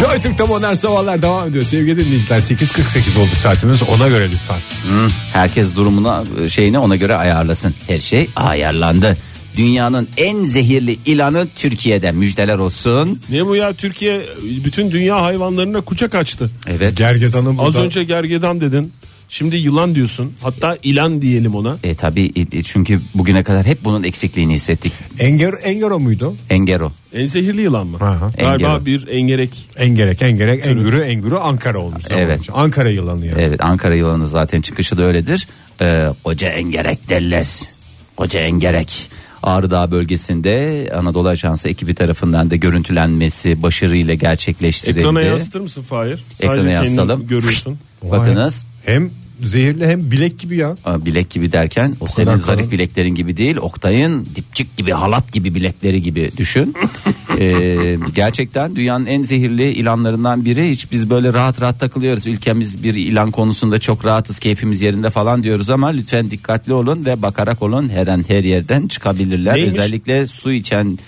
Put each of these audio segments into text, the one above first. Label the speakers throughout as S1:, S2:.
S1: Joy Türk'te modern sabahlar devam ediyor. Sevgili dinleyiciler 8.48 oldu saatimiz ona göre lütfen.
S2: Herkes durumuna şeyine ona göre ayarlasın. Her şey ayarlandı. Dünyanın en zehirli ilanı Türkiye'de müjdeler olsun.
S3: Niye bu ya Türkiye bütün dünya hayvanlarına kucak açtı.
S2: Evet.
S1: Gergedan'ın
S3: Az
S1: burada
S3: önce gergedan dedin. Şimdi yılan diyorsun. Hatta ilan diyelim ona.
S2: E tabii e, çünkü bugüne kadar hep bunun eksikliğini hissettik.
S1: Enger, Engero muydu?
S2: Engero.
S3: En zehirli yılan mı?
S1: Aha.
S3: Galiba
S2: Engel.
S3: bir engerek.
S1: Engerek, Engerek, Engürü, Engürü Ankara olmuş. zaman
S2: Evet.
S1: için. Ankara yılanı yani.
S2: Evet Ankara yılanı zaten çıkışı da öyledir. Ee, koca engerek derler. Koca engerek. Ağrı Dağı bölgesinde Anadolu Ajansı ekibi tarafından da görüntülenmesi başarıyla gerçekleştirildi.
S3: Ekrana yansıtır mısın Fahir?
S2: Ekrana
S3: Sadece kendini
S2: yansıtalım.
S3: görüyorsun.
S1: Vay.
S2: Bakınız
S1: Hem zehirli hem bilek gibi ya.
S2: Aa, bilek gibi derken o senin
S1: kadar
S2: zarif
S1: kalın.
S2: bileklerin gibi değil Oktay'ın dipçik gibi halat gibi bilekleri gibi düşün. Ee, gerçekten dünyanın en zehirli ilanlarından biri hiç biz böyle rahat rahat takılıyoruz ülkemiz bir ilan konusunda çok rahatız keyfimiz yerinde falan diyoruz ama lütfen dikkatli olun ve bakarak olun her an her yerden çıkabilirler
S3: Neymiş?
S2: özellikle su içen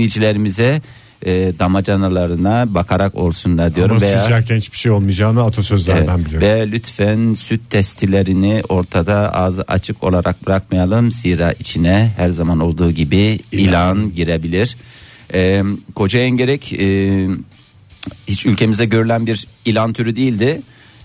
S2: dinleyicilerimize e, damacanalarına bakarak olsunlar diyorum
S1: Ama
S2: veya
S1: sıcakken hiçbir şey olmayacağını atasözlerden
S2: Evet.
S1: biliyorum.
S2: Ve lütfen süt testilerini ortada ağzı açık olarak bırakmayalım. Zira içine her zaman olduğu gibi ilan, girebilir. Ee, koca engerek e, hiç ülkemizde görülen bir ilan türü değildi.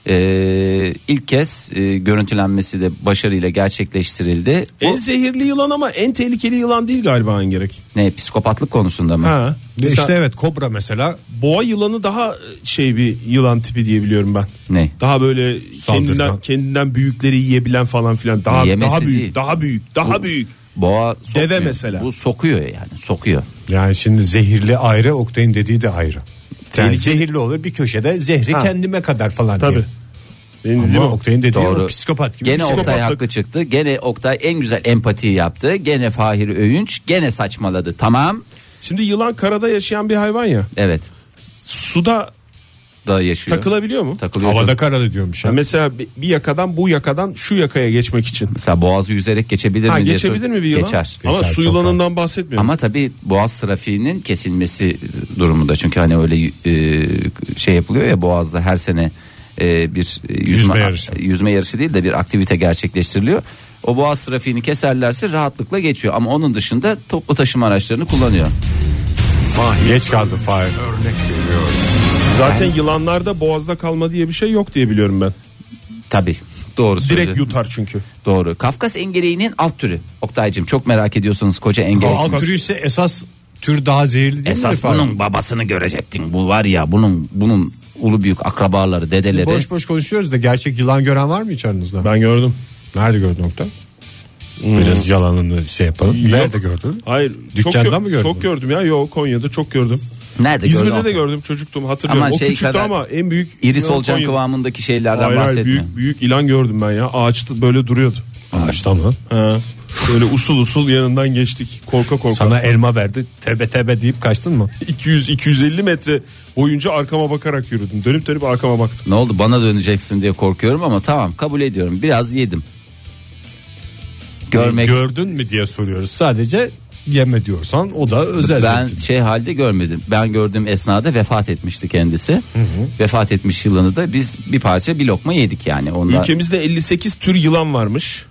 S2: Ee, ilk kez e, görüntülenmesi de başarıyla gerçekleştirildi. Bu,
S3: En zehirli yılan ama en tehlikeli yılan değil galiba engerek.
S2: ne psikopatlık konusunda mı?
S3: Ha.
S1: Ve
S3: Mesela
S1: İşte evet kobra mesela
S3: boğa yılanı daha şey bir yılan tipi diye biliyorum ben.
S2: Ne?
S3: Daha böyle kendinden
S1: Saldırgan.
S3: kendinden büyükleri yiyebilen falan filan. Daha
S2: Yemesi
S3: daha büyük,
S2: değil.
S3: daha büyük, daha büyük.
S2: Boğa sokmuyor.
S3: Deve mesela.
S2: Bu sokuyor yani sokuyor.
S1: yani şimdi zehirli ayrı Oktay'ın dediği de ayrı. Yani
S3: Tehlikeli.
S1: zehirli olur bir köşede zehri
S3: Ha.
S1: kendime kadar falan
S3: Tabii.
S1: diye.
S3: Benim dediğim
S1: Ama
S3: o.
S1: Oktay'ın dediği
S2: Doğru.
S1: o psikopat gibi.
S2: Gene
S1: psikopat.
S2: Oktay haklı çıktı. Gene Oktay en güzel empati yaptı. Gene Fahir Öğünç gene saçmaladı. Tamam.
S3: Şimdi yılan karada yaşayan bir hayvan ya.
S2: Evet.
S3: Suda
S2: Daha yaşıyor.
S3: takılabiliyor mu?
S2: Takılıyor.
S1: Havada karalı diyormuş.
S3: Ya
S1: Ya.
S3: mesela bi- bir yakadan bu yakadan şu yakaya geçmek için.
S2: Mesela boğazı yüzerek geçebilir
S3: Ha
S2: mi? diye
S3: geçebilir
S2: sor-
S3: mi bir yılan?
S2: Geçer.
S3: Ama
S1: Geçer,
S3: su
S1: çok
S3: yılanından bahsetmiyorum.
S2: Ama tabii boğaz trafiğinin kesilmesi durumunda. Çünkü hani öyle e, şey yapılıyor ya boğazda her sene e, bir e, yüzme,
S1: Yüzme yarışı.
S2: yüzme yarışı değil de bir aktivite gerçekleştiriliyor. O boğaz trafiğini keserlerse rahatlıkla geçiyor. Ama onun dışında toplu taşıma araçlarını kullanıyor.
S1: Geç kaldım Fahir.
S3: Zaten yılanlarda boğazda kalma diye bir şey yok diye biliyorum ben.
S2: Tabii. Doğru
S3: Direkt
S2: söylüyorsun.
S3: yutar çünkü.
S2: Doğru. Kafkas engereğinin alt türü. Oktay'cım çok merak ediyorsunuz koca engerek.
S1: Alt türü ise esas tür daha zehirli değil mi
S2: Esas
S1: Fahir?
S2: bunun babasını görecektin. Bu var ya bunun bunun ulu büyük akrabaları, dedeleri.
S1: Boş boş konuşuyoruz da gerçek yılan gören var mı hiç aranızda?
S3: Ben gördüm. Hmm.
S1: Nerede gördün nokta? Biraz yalanını şey yapalım. Nerede gördün?
S3: Hayır.
S1: Dükkanda
S3: çok, gö-
S1: mı gördün?
S3: Çok gördüm ya. Yok Konya'da çok gördüm.
S2: Nerede
S3: İzmir'de
S2: gördün?
S3: de gördüm çocuktum hatırlıyorum.
S2: E, Ama
S3: o
S2: şey
S3: küçüktü
S2: kadar-
S3: ama en büyük.
S2: İris
S3: yılan
S2: Olcan
S3: Konya'da.
S2: kıvamındaki şeylerden
S3: Hayır, hayır,
S2: bahsetme.
S3: büyük, büyük ilan gördüm ben ya. Ağaçta böyle duruyordu.
S1: Ağaçta mı?
S3: Ha, böyle usul usul yanından geçtik. Korka korka.
S1: Sana elma verdi. Tebe tebe deyip kaçtın mı?
S3: 200-250 metre boyunca arkama bakarak yürüdüm. Dönüp dönüp arkama baktım.
S2: Ne oldu bana döneceksin diye korkuyorum ama tamam kabul ediyorum. Biraz yedim. Görmek
S1: Gördün mü diye soruyoruz. Sadece yeme diyorsan o da özel.
S2: ben
S1: zevkin.
S2: şey halde görmedim. Ben gördüğüm esnada vefat etmişti kendisi. Vefat etmiş yılını da biz bir parça bir lokma yedik yani. Onlar...
S3: Ülkemizde 58 tür yılan varmış.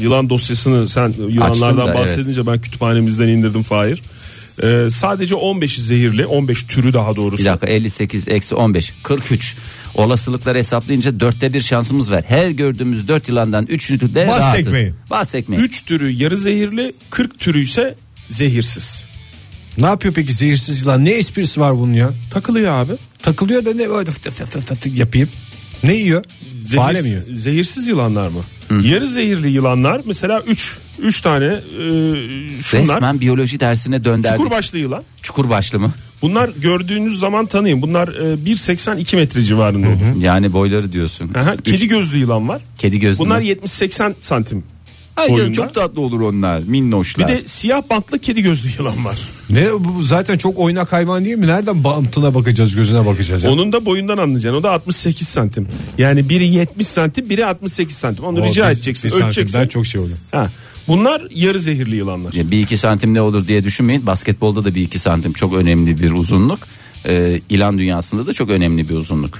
S3: Yılan dosyasını sen
S2: Açtım da,
S3: yılanlardan
S2: evet.
S3: bahsedince ben kütüphanemizden indirdim Fahir. Ee, sadece 15'i zehirli, 15 türü daha doğrusu.
S2: Bir dakika 58 eksi 15 43 olasılıkları hesaplayınca dörtte bir şansımız var. Her gördüğümüz dört yılandan üçünü de
S1: Bas
S2: rahatız.
S1: tekmeyi.
S2: Bas tekmeyi.
S3: 3 türü yarı zehirli, 40 türü ise zehirsiz.
S1: Ne yapıyor peki zehirsiz yılan? Ne esprisi var bunun ya?
S3: Takılıyor abi.
S1: Takılıyor da ne öyle fıt fıt fıt fıt yapayım. Ne yiyor?
S3: Zehir-
S1: Fare mi yiyor?
S3: Zehirsiz yılanlar mı? Yarı zehirli yılanlar mesela 3 3 tane e, şunlar.
S2: Resmen biyoloji dersine dönderdik.
S3: Çukur
S2: Çukur,
S3: başlı yılan.
S2: başlı mı?
S3: Bunlar gördüğünüz zaman tanıyın. Bunlar e, 1.80-2 metre civarında olur.
S2: Yani boyları diyorsun.
S3: Aha,
S2: Üç-
S3: kedi gözlü yılan var.
S2: kedi gözlü.
S3: Bunlar
S2: Bunlar
S3: 70-80 santim. boyunda.
S2: çok tatlı olur onlar.
S3: Bir
S2: Minnoşlar.
S3: de siyah bantlı kedi gözlü yılan var.
S1: Ne bu zaten çok oynak hayvan değil mi? Nereden bantına bakacağız, gözüne bakacağız? ya?
S3: Onun da boyundan anlayacaksın. O da 68 santim. Yani biri 70 santim, biri 68 santim. Onu
S1: O
S3: rica
S1: bir- bir
S3: edeceksin,
S1: santimden
S3: ölçeceksin.
S1: çok şey oluyor.
S3: Ha. Bunlar yarı zehirli yılanlar.
S2: Ya bir iki santim ne olur diye düşünmeyin. Basketbolda da bir iki santim çok önemli bir uzunluk. e, ilan dünyasında da çok önemli bir uzunluk.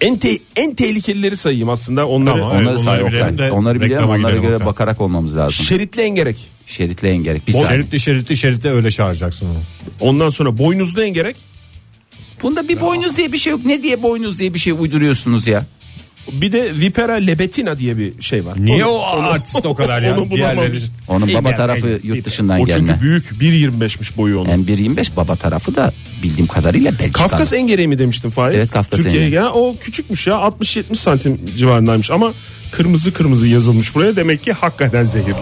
S3: En, te- en tehlikelileri sayayım aslında onları.
S1: Tamam. Evet,
S2: Onları
S1: onları
S2: say
S1: bilelim
S2: Oktay.
S1: de
S2: Onları biliyorum
S1: reklama
S2: onlara
S1: gidelim
S2: göre
S1: Oktay.
S2: bakarak olmamız lazım.
S3: Şeritli engerek.
S2: Şeritli engerek. Bir
S1: O
S2: saniye.
S1: şeritli şeritli şeritli öyle çağıracaksın onu.
S3: Ondan sonra boynuzlu engerek.
S2: Bunda bir boynuz diye bir şey yok. Ne diye boynuz diye bir şey uyduruyorsunuz ya?
S3: Bir de Vipera lebetina diye bir şey var.
S1: Niye
S3: Onu-
S1: o artist o kadar ya?
S3: Onu bulamamış.
S1: Diğerleri...
S2: Onun baba
S1: İnger,
S2: tarafı
S1: İnger,
S2: yurt dışından
S3: O
S2: gelme.
S3: çünkü büyük 1.25'miş boyu onun.
S2: Hem 1.25 baba tarafı da bildiğim kadarıyla Belçikalı.
S3: Kafkas engereği mi demiştin Fahir?
S2: Evet, Kafkas
S3: Türkiye'ye
S2: engereği.
S3: gelen o küçükmüş ya 60-70 santim civarındaymış ama kırmızı kırmızı yazılmış buraya demek ki hakikaten zehirli.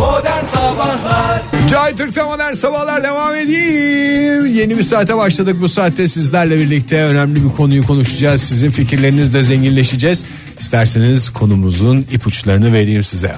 S4: Modern Sabahlar
S1: Joy Türk'te modern sabahlar devam edeyim. Yeni bir saate başladık. Bu saatte sizlerle birlikte önemli bir konuyu konuşacağız. Sizin fikirlerinizle zenginleşeceğiz. İsterseniz konumuzun ipuçlarını vereyim size.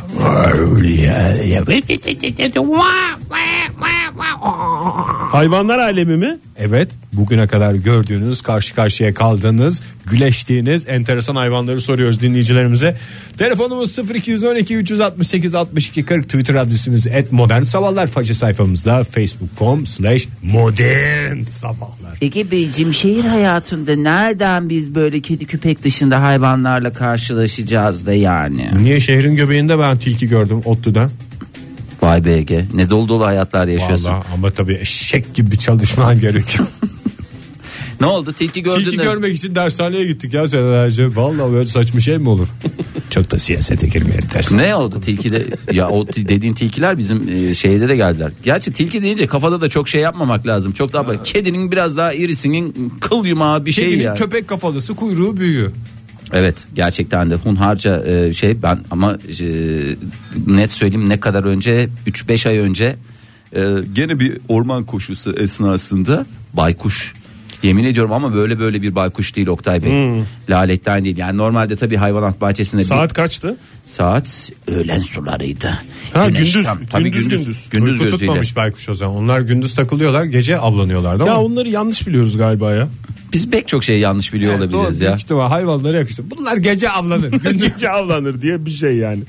S3: Hayvanlar alemi mi?
S1: Evet bugüne kadar gördüğünüz karşı karşıya kaldığınız güleştiğiniz enteresan hayvanları soruyoruz dinleyicilerimize. Telefonumuz 0212 368 62 40 Twitter adresimiz et modern sabahlar faça sayfamızda facebook.com slash modern sabahlar.
S2: Ege Beyciğim şehir hayatında nereden biz böyle kedi köpek dışında hayvanlarla karşılaşacağız da yani?
S1: Niye şehrin göbeğinde ben tilki gördüm Ottu'da.
S2: Vay be Ege ne dolu dolu hayatlar yaşıyorsun.
S1: Vallahi ama tabii eşek gibi çalışman gerekiyor.
S2: Ne oldu tilki gördün
S1: tilki
S2: de-
S1: görmek için dershaneye gittik ya senelerce. Vallahi böyle saçma şey mi olur? Çok da siyasete girmeyelim dersin.
S2: Ne oldu tilkide? ya o ti- dediğin tilkiler bizim e, şeyde de geldiler. Gerçi tilki deyince kafada da çok şey yapmamak lazım. Çok daha böyle kedinin biraz daha irisinin kıl yumağı bir şey
S1: Kedinin
S2: yani.
S1: köpek kafalısı kuyruğu büyüyor.
S2: Evet gerçekten de hunharca e, şey ben ama e, net söyleyeyim ne kadar önce 3-5 ay önce e, gene bir orman koşusu esnasında baykuş yemin ediyorum ama böyle böyle bir baykuş değil Oktay Bey. Laletten değil yani normalde tabii hayvanat bahçesinde bir-
S3: Hmm. Saat kaçtı?
S2: saat öğlen sularıydı.
S3: Ha,
S2: Güneş
S3: gündüz,
S2: tabii
S3: gündüz,
S2: gündüz
S3: gündüz.
S2: gündüz, gündüz
S1: Uyku
S2: gözüyle.
S1: tutmamış baykuş o zaman. Onlar gündüz takılıyorlar gece avlanıyorlar değil
S3: Ya
S1: mi?
S3: onları yanlış biliyoruz galiba ya.
S2: Biz pek çok şey yanlış biliyor olabiliriz ya.
S1: Ihtimal, hayvanlara yakıştı. Bunlar gece avlanır. Gündüz-
S3: Gece avlanır diye bir şey yani.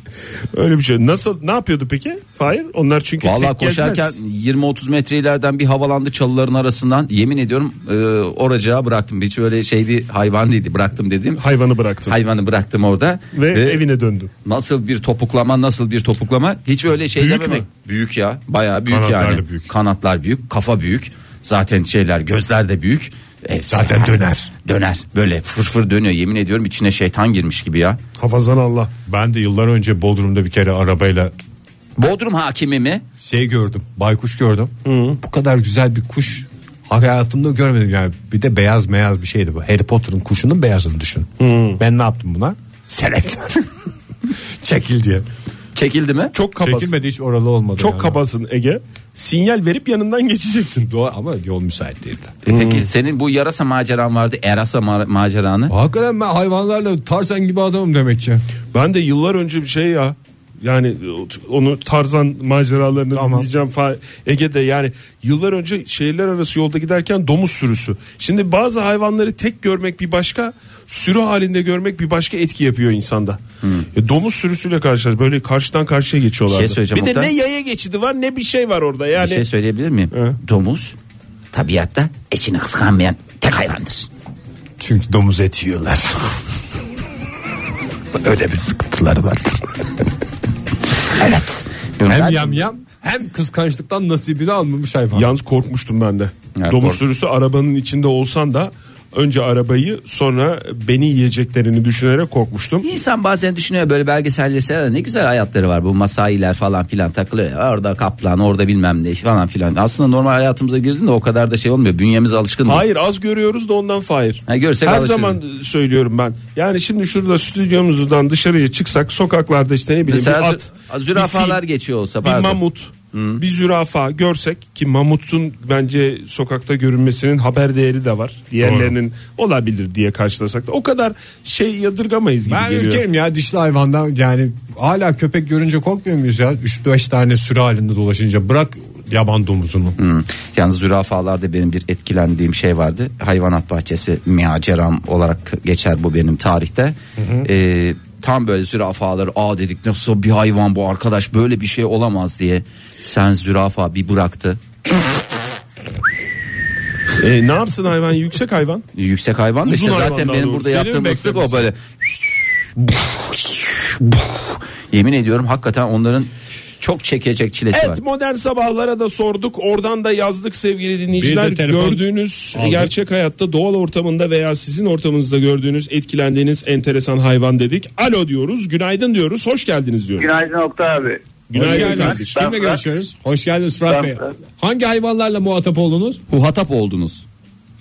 S3: Öyle bir şey. Nasıl ne yapıyordu peki? Fahir onlar çünkü
S2: Vallahi
S3: tek gezmez.
S2: koşarken 20-30 metre ileriden bir havalandı çalıların arasından. Yemin ediyorum e, oracığa bıraktım. Hiç öyle şey bir hayvan değildi. Bıraktım dedim.
S3: hayvanı bıraktın
S2: Hayvanı bıraktım orada. E,
S3: ve evine döndün.
S2: Nasıl bir topuklama nasıl bir topuklama hiç öyle şey
S3: Büyük
S2: dememek.
S3: mü?
S2: Büyük ya bayağı büyük
S1: Kanatlar
S2: yani.
S1: da büyük.
S2: Kanatlar büyük kafa büyük zaten şeyler gözler de büyük. E,
S1: Zaten döner.
S2: Döner böyle fırfır dönüyor yemin ediyorum içine şeytan girmiş gibi ya.
S3: Hafazan Allah.
S1: Ben de yıllar önce Bodrum'da bir kere arabayla
S2: Bodrum hakimi mi?
S1: şey gördüm. Baykuş gördüm. Bu kadar güzel bir kuş hayatımda görmedim yani. Bir de beyaz beyaz bir şeydi bu. Harry Potter'ın kuşunun beyazını düşün. Ben ne yaptım buna? Selektör. Çekil diye.
S2: Çekildi mi?
S3: Çok kabasın.
S1: Çekilmedi hiç oralı olmadı.
S3: Çok
S1: yani.
S3: kabasın Ege. Sinyal verip yanından geçecektin.
S1: Doğa- ama yol müsait değildi.
S3: Hmm.
S2: Peki senin bu yarasa maceran vardı. Erasa ma- maceranı.
S1: Hakikaten ben hayvanlarla Tarzan gibi adamım demek ki.
S3: Ben de yıllar önce bir şey ya. Yani onu Tarzan maceralarını dinleyeceğim falan. Ege'de yani yıllar önce şehirler arası yolda giderken domuz sürüsü. Şimdi bazı hayvanları tek görmek bir başka, sürü halinde görmek bir başka etki yapıyor insanda. E, domuz sürüsüyle karşılar böyle karşıdan karşıya geçiyorlar.
S2: Bir Hmm. şey söyleyeceğim
S3: bir de
S2: Oktay.
S3: ne yaya geçidi var ne bir şey var orada yani.
S2: Bir şey söyleyebilir miyim? Domuz tabiatta eşini kıskanmayan tek hayvandır.
S1: Çünkü domuz eti yiyorlar. Öyle bir sıkıntıları var.
S2: Evet.
S1: hem yam yam hem kıskançlıktan nasibini almamış hayvan.
S3: Yalnız korkmuştum ben de.
S2: Ya
S3: Domuz
S2: kork-
S3: sürüsü arabanın içinde olsan da önce arabayı sonra beni yiyeceklerini düşünerek korkmuştum.
S2: İnsan bazen düşünüyor böyle belgesellerde ne güzel hayatları var bu masailer falan filan takılıyor. ya, Orada kaplan orada bilmem ne falan filan. Aslında normal hayatımıza girdiğinde o kadar da şey olmuyor. Bünyemiz alışkın. değil.
S3: Hayır az görüyoruz da ondan Fahir.
S2: Ha, görsek
S3: Her
S2: alışırız.
S3: zaman e, söylüyorum ben. Yani şimdi şurada stüdyomuzdan dışarıya çıksak sokaklarda işte ne bileyim
S2: Mesela
S3: bir
S2: zü-
S3: at,
S2: a, zürafalar
S3: bir fil,
S2: geçiyor olsa
S3: bir
S2: pardon.
S3: mamut, bir zürafa görsek ki mamutun bence sokakta görünmesinin haber değeri de var. Diğerlerinin olabilir diye karşılasak da o kadar şey yadırgamayız gibi
S1: Ben
S3: geliyor.
S1: ürkerim ya dişli hayvandan yani hala köpek görünce korkmuyor muyuz ya? 3-5 tane sürü halinde dolaşınca bırak yaban domuzunu.
S2: Hı. Hmm. Yalnız zürafalarda benim bir etkilendiğim şey vardı. Hayvanat bahçesi miaceram olarak geçer bu benim tarihte. Ee, tam böyle zürafaları aa dedik nasıl bir hayvan bu arkadaş böyle bir şey olamaz diye. Sen zürafa bir bıraktı.
S3: E, ne yapsın hayvan yüksek hayvan.
S2: Yüksek hayvan da
S3: Uzun
S2: işte
S3: hayvan
S2: zaten
S3: daha
S2: benim
S3: doğrusu.
S2: burada
S3: Seni mi
S2: yaptığım ıslık o
S3: beklemiş?
S2: böyle. Yemin ediyorum hakikaten onların çok çekecek çilesi var.
S3: Evet modern sabahlara da sorduk. Oradan da yazdık sevgili dinleyiciler.
S1: Bir de telefon
S3: gördüğünüz
S1: aldık.
S3: gerçek hayatta doğal ortamında veya sizin ortamınızda gördüğünüz etkilendiğiniz enteresan hayvan dedik. Alo diyoruz, günaydın diyoruz, hoş geldiniz diyoruz.
S5: Günaydın Oktay abi.
S1: Hoş
S3: Günaydın
S1: geldiniz.
S5: kardeşim.
S1: Kimle
S5: Ben Fırat.
S1: görüşüyoruz? Hoş geldiniz Fırat
S5: Ben
S1: Bey.
S5: Fırat.
S1: Hangi hayvanlarla muhatap oldunuz?
S2: Huhatap oldunuz.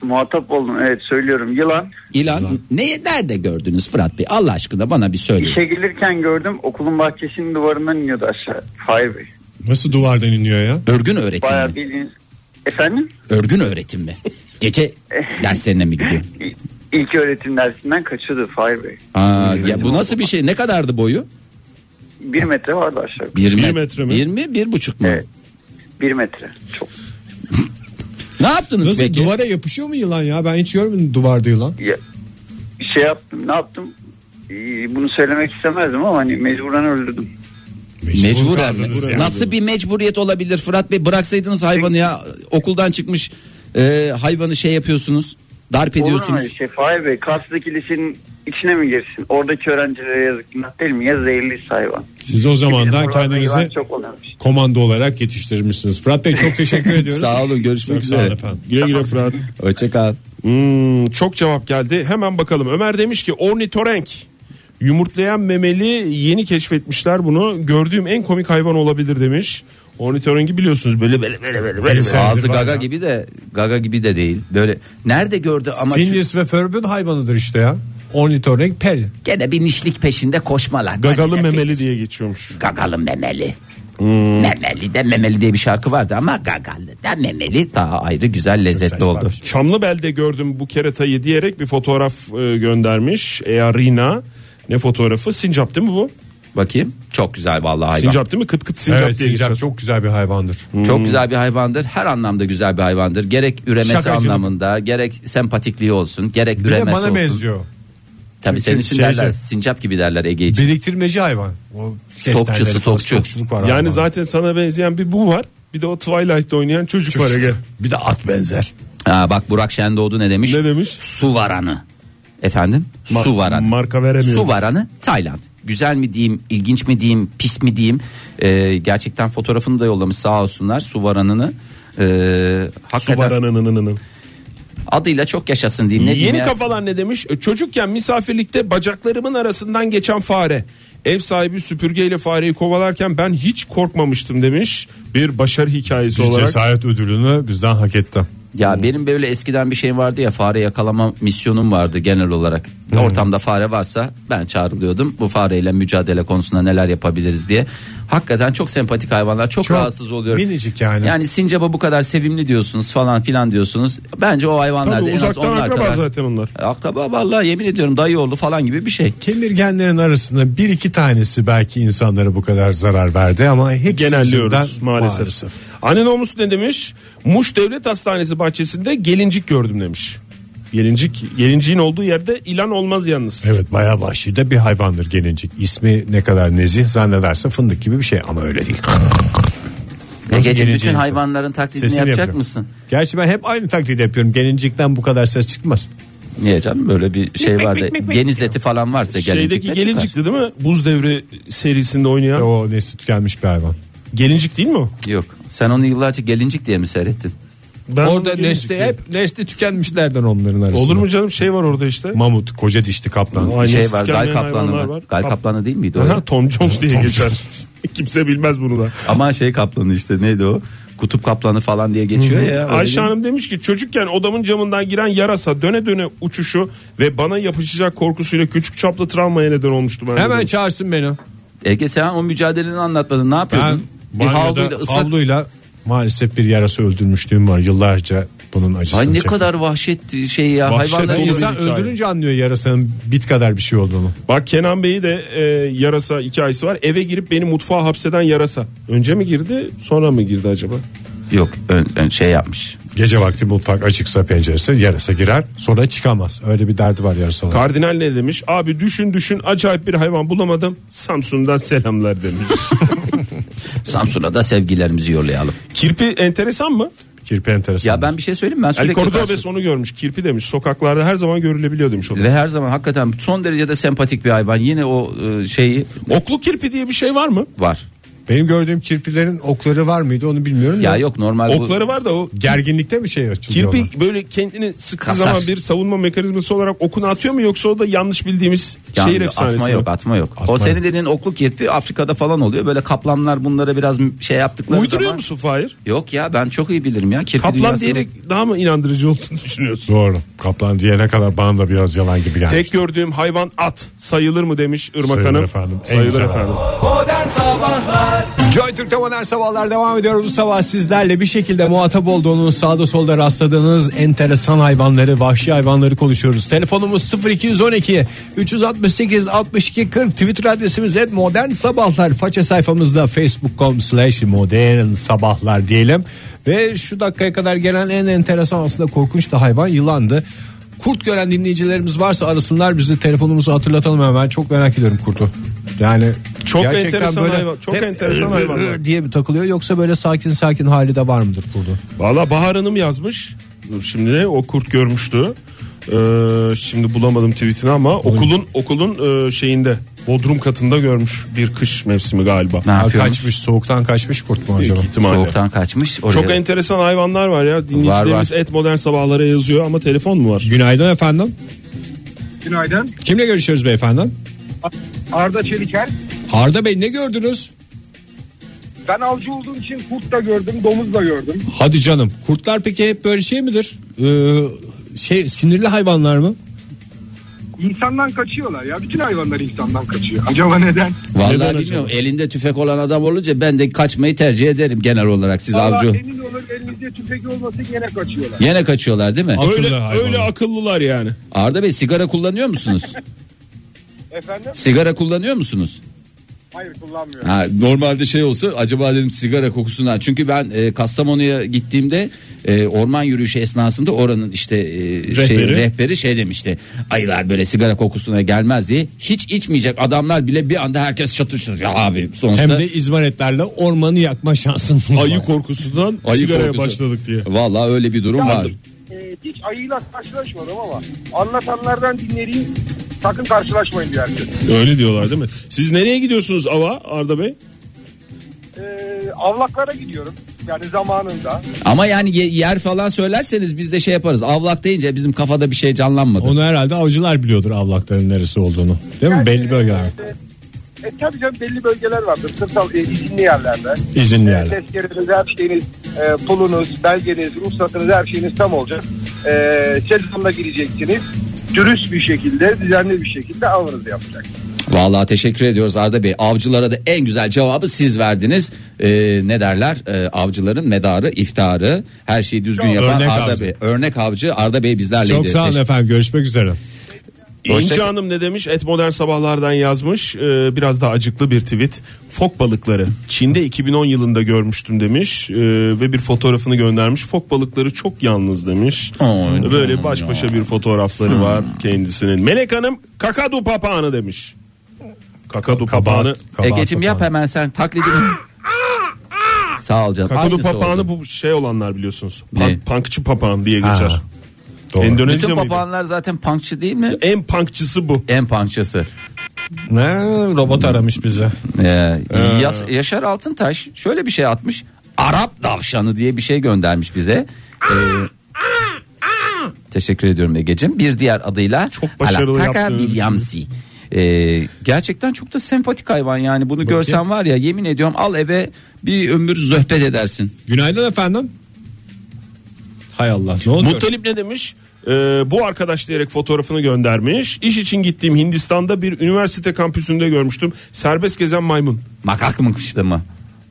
S5: Muhatap oldum evet söylüyorum yılan.
S2: İlan, ne nerede gördünüz Fırat Bey? Allah aşkına bana bir söyleyin.
S5: İşe gelirken gördüm okulun bahçesinin duvarından iniyordu aşağı. Fahir Bey.
S1: Nasıl duvardan iniyor ya?
S2: Örgün öğretim
S5: Bayağı
S2: mi?
S5: bildiğiniz. Efendim?
S2: Örgün öğretim mi? Gece derslerine mi gidiyor?
S5: İ- İlk öğretim dersinden kaçıyordu Fahir Bey.
S2: Aa, ya bu nasıl bir şey? Ne kadardı boyu?
S5: Bir metre vardı aşağı.
S2: Bir,
S3: Bir
S2: met-
S3: metre mi?
S2: Bir mi? Bir buçuk mu?
S5: Evet. Bir metre. Çok.
S2: Ne yaptınız
S1: Nasıl
S2: peki?
S1: duvara yapışıyor mu yılan ya? Ben hiç görmedim duvarda yılan.
S5: Ya, şey yaptım ne yaptım? Ee, Bunu söylemek istemezdim ama hani mecburen öldürdüm.
S2: Mecburen mi?
S1: kaldınız yani.
S2: Nasıl bir mecburiyet olabilir Fırat Bey? Bıraksaydınız hayvanı ya okuldan çıkmış e, hayvanı şey yapıyorsunuz. Darp
S5: Olur mu öyle
S2: ediyorsunuz.
S5: şey Fahir Bey? Kars'taki lisenin içine mi girsin? Oradaki öğrencilere yazık günah değil mi? Ya zehirli hayvan.
S1: Siz o zamandan
S5: Bizim oralarda yılan
S1: kendinizi
S5: çok şey. oluyormuş.
S1: komando olarak yetiştirmişsiniz. Fırat Bey çok teşekkür ediyoruz.
S2: Sağ olun görüşmek
S1: Çok sağ olun
S2: üzere.
S1: efendim.
S3: Güle güle Fırat.
S2: Hoşçakal.
S3: Hmm, çok cevap geldi. Hemen bakalım. Ömer demiş ki ornitorenk. Yumurtlayan memeli yeni keşfetmişler bunu. Gördüğüm en komik hayvan olabilir demiş. Ornitorenki biliyorsunuz böyle böyle böyle böyle. böyle.
S2: Ağzı
S1: var
S2: gaga
S1: ya.
S2: gibi de gaga gibi de değil. Böyle nerede gördü ama şu-
S1: Finlis ve Förb'ün hayvanıdır işte ya. Ornitorenk peri.
S2: gene bir nişlik peşinde koşmalar.
S3: Gagalı
S2: Hani-
S3: memeli diye geçiyormuş.
S2: Gagalı memeli.
S1: Hmm.
S2: Memeli de memeli diye bir şarkı vardı ama gagalı da memeli daha ayrı güzel lezzetli
S1: saçma
S2: oldu.
S1: bir şey.
S3: Çamlıbel'de gördüm bu keratayı diyerek bir fotoğraf e, göndermiş. Ea Rina ne fotoğrafı? Sincap değil mi bu?
S2: Bakayım çok güzel vallahi hayvan.
S3: Sincap değil mi? Kıt kıt sincap
S1: evet
S3: diye
S1: sincap
S3: geçiyor.
S1: çok güzel bir hayvandır.
S2: Çok güzel bir hayvandır. Her anlamda güzel bir hayvandır. Gerek üremesi
S1: Şakacılık.
S2: anlamında, gerek sempatikliği olsun, gerek
S1: Bir
S2: üremesi
S1: de bana
S2: olsun.
S1: benziyor. şey
S2: Tabii senin için
S1: şeyce-
S2: derler, sincap gibi derler Ege için.
S1: Biriktirmeci hayvan. O kestenleri falan,
S2: stokçu.
S1: Stokçuluk var
S3: Yani
S1: hayvanda.
S3: zaten sana benzeyen bir bu var. Bir de o Twilight'te oynayan çocuk var Ege.
S1: Bir de at benzer.
S2: Aa, bak Burak Şendoğdu ne demiş?
S3: Ne demiş?
S2: Su varanı. Efendim?
S3: Ma-
S2: su varanı.
S3: marka veremiyorum.
S2: Su varanı Tayland. Güzel mi diyeyim, ilginç mi diyeyim, pis mi diyeyim. Ee, gerçekten fotoğrafını da yollamış sağ olsunlar su varanını. Ee, hakikaten
S3: Subaranınınının.
S2: adıyla çok yaşasın diyeyim. Ne diyeyim
S3: Yeni
S2: ya?
S3: kafalar ne demiş? E, Çocukken misafirlikte bacaklarımın arasından geçen fare. Ev sahibi süpürgeyle fareyi kovalarken ben hiç korkmamıştım demiş. Bir başarı hikayesi
S1: Bir
S3: olarak.
S1: cesaret ödülünü bizden hak etti.
S2: Ya benim böyle eskiden bir şeyim vardı ya fare yakalama misyonum vardı genel olarak. Bir Ortamda fare varsa ben çağrılıyordum. Bu fareyle mücadele konusunda neler yapabiliriz diye. Hakikaten çok sempatik hayvanlar. Çok,
S1: Çok
S2: rahatsız oluyorum.
S1: minicik yani.
S2: Yani sincaba bu kadar sevimli diyorsunuz falan filan diyorsunuz. Bence o hayvanlar
S3: Tabii
S2: da en az
S3: uzaktan
S2: onlar
S3: akraba
S2: kadar.
S3: zaten onlar.
S2: Akraba vallahi yemin ediyorum dayı oğlu falan gibi bir şey.
S1: Kemirgenlerin arasında bir iki tanesi belki insanlara bu kadar zarar verdi ama hepsi yüzünden
S3: Genelliyoruz maalesef. Anne namus ne demiş? Muş Devlet Hastanesi bahçesinde gelincik gördüm demiş. Gelincik, gelinciğin olduğu yerde ilan olmaz yalnız.
S1: Evet bayağı vahşi de bir hayvandır gelincik. İsmi ne kadar nezih zannederse fındık gibi bir şey ama öyle değil. Nasıl
S2: Egeciğim bütün
S1: gelinciyim?
S2: hayvanların taklidini
S1: Sesini
S2: yapacak
S1: yapacağım.
S2: mısın?
S1: Gerçi ben hep aynı taklidi yapıyorum. Gelincikten bu kadar ses çıkmaz.
S2: Niye canım böyle bir şey vardı. Geniz eti falan varsa gelincik
S3: Şeydeki
S2: de çıkar.
S3: gelincikti değil mi? Buz Devri serisinde oynayan.
S1: O nesli tükenmiş bir hayvan.
S3: Gelincik değil mi o?
S2: Yok. Sen onu yıllarca gelincik diye mi seyrettin?
S3: Ben
S1: Orada
S3: gelincik
S1: nesli
S3: diyorum.
S1: hep nesli tükenmişlerden onların arasında.
S3: Olur mu canım şey var orada işte.
S1: Mamut, koca dişli kaplan.
S3: Aynı
S2: şey var
S3: tükenmeyen
S2: gal kaplanı
S3: hayvanlar
S2: var.
S3: var.
S2: Gal
S3: Kap-
S2: kaplanı değil miydi o?
S3: Aha, Tom Jones diye geçer. Kimse bilmez bunu da.
S2: Ama şey kaplanı işte neydi o? Kutup kaplanı falan diye geçiyor ya. öyle
S3: Ayşe
S2: değil mi?
S3: Hanım demiş ki çocukken odamın camından giren yarasa döne döne uçuşu ve bana yapışacak korkusuyla küçük çaplı travmaya neden olmuştu. Ben
S1: Hemen
S3: dedim.
S1: çağırsın beni.
S2: Ege sen o mücadeleni anlatmadın. Ne
S1: Ben
S2: yapıyordun? bir havluyla
S1: banyoda
S2: ıslak.
S1: havluyla maalesef bir yarası öldürmüşlüğüm var. Yıllarca bunun acısını
S2: Ay ne
S1: çektim.
S2: kadar vahşet şey ya.
S1: Vahşet
S2: Hayvanlar
S1: dolu insan
S3: bir hikaye.
S1: öldürünce anlıyor yarasanın bit kadar bir şey olduğunu.
S3: Bak Kenan Bey'i de e, yarasa hikayesi var. Eve girip beni mutfağa hapseden yarasa. Önce mi girdi sonra mı girdi acaba?
S2: Yok ön, ön şey yapmış.
S1: Gece vakti mutfak açıksa penceresi yarasa girer sonra çıkamaz. Öyle bir derdi var yarasanın.
S3: Kardinal ne demiş? Abi düşün düşün acayip bir hayvan bulamadım. Samsun'dan selamlar demiş.
S2: Samsun'a da sevgilerimizi yollayalım.
S3: Kirpi enteresan mı?
S1: Kirpi enteresan.
S2: Ya ben bir şey söyleyeyim mi? ben
S3: El
S2: sürekli karşı-
S3: Cordobes onu görmüş. Kirpi demiş. Sokaklarda her zaman görülebiliyor demiş. o da.
S2: ve her zaman hakikaten son derecede sempatik bir hayvan. Yine o e, şeyi
S3: Oklu kirpi diye bir şey var mı?
S2: var.
S1: Benim gördüğüm kirpilerin okları var mıydı onu bilmiyorum.
S2: Ya
S1: da.
S2: yok normal bu-
S3: Okları var da o
S1: Gerginlikte mi şey açılıyor? ona?
S3: kirpi böyle kendini sıktığı
S2: Kasar.
S3: zaman bir savunma mekanizması olarak okunu atıyor mu yoksa o da yanlış bildiğimiz
S2: Yani
S3: şehir efsanesi
S2: atma
S3: mi?
S2: yok atma yok.
S1: Atma
S2: o senin
S1: yok.
S2: dediğin okluk kirpi Afrika'da falan oluyor. Böyle kaplanlar bunlara biraz şey yaptıkları
S3: Uyduruyor
S2: zaman.
S3: musun Fahir?
S2: Yok ya ben çok iyi bilirim ya. Kirpi
S3: Kaplan
S2: dünyasını-
S3: diyerek daha mı inandırıcı olduğunu düşünüyorsun?
S1: Doğru. Kaplan diyene kadar bana da biraz yalan gibi geldi.
S3: Tek gördüğüm hayvan at sayılır mı demiş Irmak
S1: Sayılır
S3: Hanım.
S1: efendim. En
S3: Sayılır
S1: güzel.
S3: efendim.
S4: Modern Sabahlar
S1: Joy Türk'te modern sabahlar devam ediyor. Bu sabah sizlerle bir şekilde muhatap olduğunuz sağda solda rastladığınız enteresan hayvanları, vahşi hayvanları konuşuyoruz. Telefonumuz 0212 368 62 40 Twitter adresimiz et modern sabahlar. Faça sayfamızda facebook.com slash modern sabahlar diyelim. Ve şu dakikaya kadar gelen en enteresan aslında korkunç da hayvan yılandı. Kurt gören dinleyicilerimiz varsa arasınlar bizi telefonumuzu hatırlatalım hemen çok merak ediyorum kurtu. Yani
S3: Çok enteresan hayvan- çok enteresan hayvanlar.
S1: e, diye mi takılıyor yoksa böyle sakin sakin hali de var mıdır kurdu?
S3: Valla Bahar Hanım yazmış. Dur şimdi o kurt görmüştü. Ee, şimdi bulamadım tweetini ama okulun okulun e, şeyinde bodrum katında görmüş bir kış mevsimi galiba.
S2: Ne yapıyormuş?
S1: kaçmış soğuktan kaçmış kurt mu
S3: Büyük
S1: acaba?
S3: ihtimalle.
S2: Soğuktan kaçmış. Oraya...
S3: Çok enteresan hayvanlar var ya. Dinleyicilerimiz et modern sabahlara yazıyor ama telefon mu var?
S1: Günaydın efendim.
S6: Günaydın.
S1: Kimle görüşüyoruz beyefendi?
S6: Arda Çeliker.
S1: Arda Bey ne gördünüz?
S6: Ben avcı olduğum için kurt da gördüm, domuz da gördüm.
S1: Hadi canım. Kurtlar peki hep böyle şey midir? Ee, şey sinirli hayvanlar mı?
S6: İnsandan kaçıyorlar ya. Bütün hayvanlar insandan kaçıyor. Acaba neden?
S3: Neden
S2: Vallahi bilmiyorum. Elinde tüfek olan adam olunca ben de kaçmayı tercih ederim genel olarak siz
S6: Vallahi
S2: avcı.
S6: emin olur elimizde tüfek olmasın yine kaçıyorlar.
S2: Yine kaçıyorlar değil mi?
S1: Akıllı
S3: Öyle,
S1: hayvanlar.
S3: öyle akıllılar yani.
S2: Arda Bey sigara kullanıyor musunuz?
S6: Efendim?
S2: sigara kullanıyor musunuz?
S6: Hayır kullanmıyor.
S2: Ha, normalde şey olsa acaba dedim sigara kokusundan. Çünkü ben e, Kastamonu'ya gittiğimde e, orman yürüyüşü esnasında oranın işte e, rehberi. Şey,
S3: Rehberi.
S2: rehberi şey demişti. Ayılar böyle sigara kokusuna gelmez diye. Hiç içmeyecek adamlar bile bir anda herkes çatır çatır. Ya abi sonuçta.
S1: Hem de izmaretlerle ormanı yakma şansın var.
S3: Ayı korkusundan
S2: Ayı
S3: sigaraya
S2: korkusu.
S3: başladık diye.
S2: Vallahi öyle bir durum var.
S6: Ee, hiç ayıyla karşılaşmadım ama anlatanlardan dinlediğim sakın karşılaşmayın diye herkes.
S3: Öyle diyorlar değil mi? Siz nereye gidiyorsunuz ava Arda Bey?
S6: Ee, avlaklara gidiyorum. Yani zamanında.
S2: Ama yani ye- yer falan söylerseniz biz de şey yaparız. Avlak deyince bizim kafada bir şey canlanmadı.
S1: Onu herhalde avcılar biliyordur avlakların neresi olduğunu. Değil mi?
S6: Yani,
S1: Belli bölgeler.
S6: E, e, tabii canım belli bölgeler vardır. Kırsal e, izinli yerlerde.
S1: İzinli
S6: E,
S1: yerler.
S6: Tezkereniz, her şeyiniz, e, pulunuz, belgeniz, ruhsatınız her şeyiniz tam olacak. E, sezonla gireceksiniz. Dürüst bir şekilde, düzenli bir şekilde avınızı yapacaksınız.
S2: Vallahi teşekkür ediyoruz Arda Bey. Avcılara da en güzel cevabı siz verdiniz. Ee, ne derler? Ee, avcıların medarı, iftarı, her şeyi düzgün yapan
S1: örnek
S2: Arda
S1: avcı.
S2: Bey. Örnek avcı Arda Bey bizlerleydi.
S1: Çok sağ olun
S2: Teşekkür-
S1: efendim. Görüşmek üzere.
S3: İnci
S2: Hoşça-
S3: Hanım ne demiş? Et Modern Sabahlar'dan yazmış. Ee, biraz daha acıklı bir tweet. Fok balıkları. Çin'de 2010 yılında görmüştüm demiş. Ee, ve bir fotoğrafını göndermiş. Fok balıkları çok yalnız demiş.
S2: Ay,
S3: Böyle
S2: canım
S3: baş başa bir fotoğrafları var kendisinin. Melek Hanım kakadu papağanı demiş. Kakadu papağanı.
S1: Kabahat
S2: Ege'cim E, yap
S1: papağanı.
S2: hemen sen taklidini. sağ ol canım.
S3: Kakadu
S2: Aynısı
S3: papağanı
S2: oldu.
S3: bu şey olanlar biliyorsunuz.
S2: Ne?
S3: Punk, punkçı papağan diye
S1: Ha,
S3: geçer.
S1: doğru.
S3: Endonezya
S2: Bütün
S3: mıydı?
S2: papağanlar zaten punkçı değil mi?
S3: En punkçısı bu.
S2: En punkçısı.
S1: Ne robot aramış bize.
S2: Ee, Yas- Yaşar Altıntaş şöyle bir şey atmış. Arap davşanı diye bir şey göndermiş bize. Ee, teşekkür ediyorum Ege'cim. Bir diğer adıyla
S3: Çok başarılı
S2: Alataka
S3: yaptığını
S2: Bilyamsi. Ee, gerçekten çok da sempatik hayvan yani bunu görsen var ya yemin ediyorum al eve bir ömür zöhbet edersin.
S1: Günaydın efendim. Hay Allah ne oluyor?
S3: Muttalip ne demiş? Ee, bu arkadaş diyerek fotoğrafını göndermiş. İş için gittiğim Hindistan'da bir üniversite kampüsünde görmüştüm. Serbest gezen maymun.
S2: Makakmıştı mı?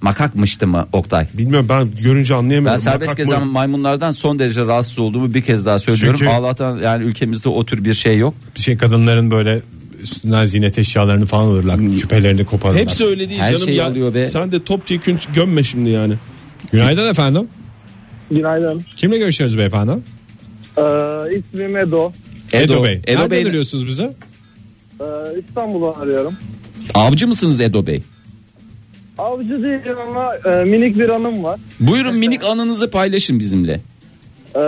S2: Makakmıştı mı Oktay?
S3: Bilmiyorum ben görünce anlayamadım.
S2: Ben serbest
S3: Makak
S2: gezen
S3: mı?
S2: maymunlardan son derece rahatsız olduğumu bir kez daha söylüyorum.
S1: Çünkü-
S2: Allah'tan yani ülkemizde o tür bir şey yok.
S1: şey kadınların böyle üstünden ziynet eşyalarını falan alırlar. Küpelerini koparırlar.
S3: Hepsi öyle değil
S2: Her
S3: canım.
S2: şey
S3: ya.
S2: oluyor be.
S3: Sen de top diye kün- gömme şimdi yani.
S1: Günaydın efendim.
S6: Günaydın.
S1: Kimle görüşüyoruz beyefendi?
S6: Ee, ismim Edo.
S1: Edo, Bey. Nereden
S2: Bey'in-
S1: arıyorsunuz bize?
S6: Ee, İstanbul'u arıyorum.
S2: Avcı mısınız Edo Bey?
S6: Avcı değilim ama e, minik bir anım var.
S2: Buyurun minik anınızı paylaşın bizimle.
S6: E,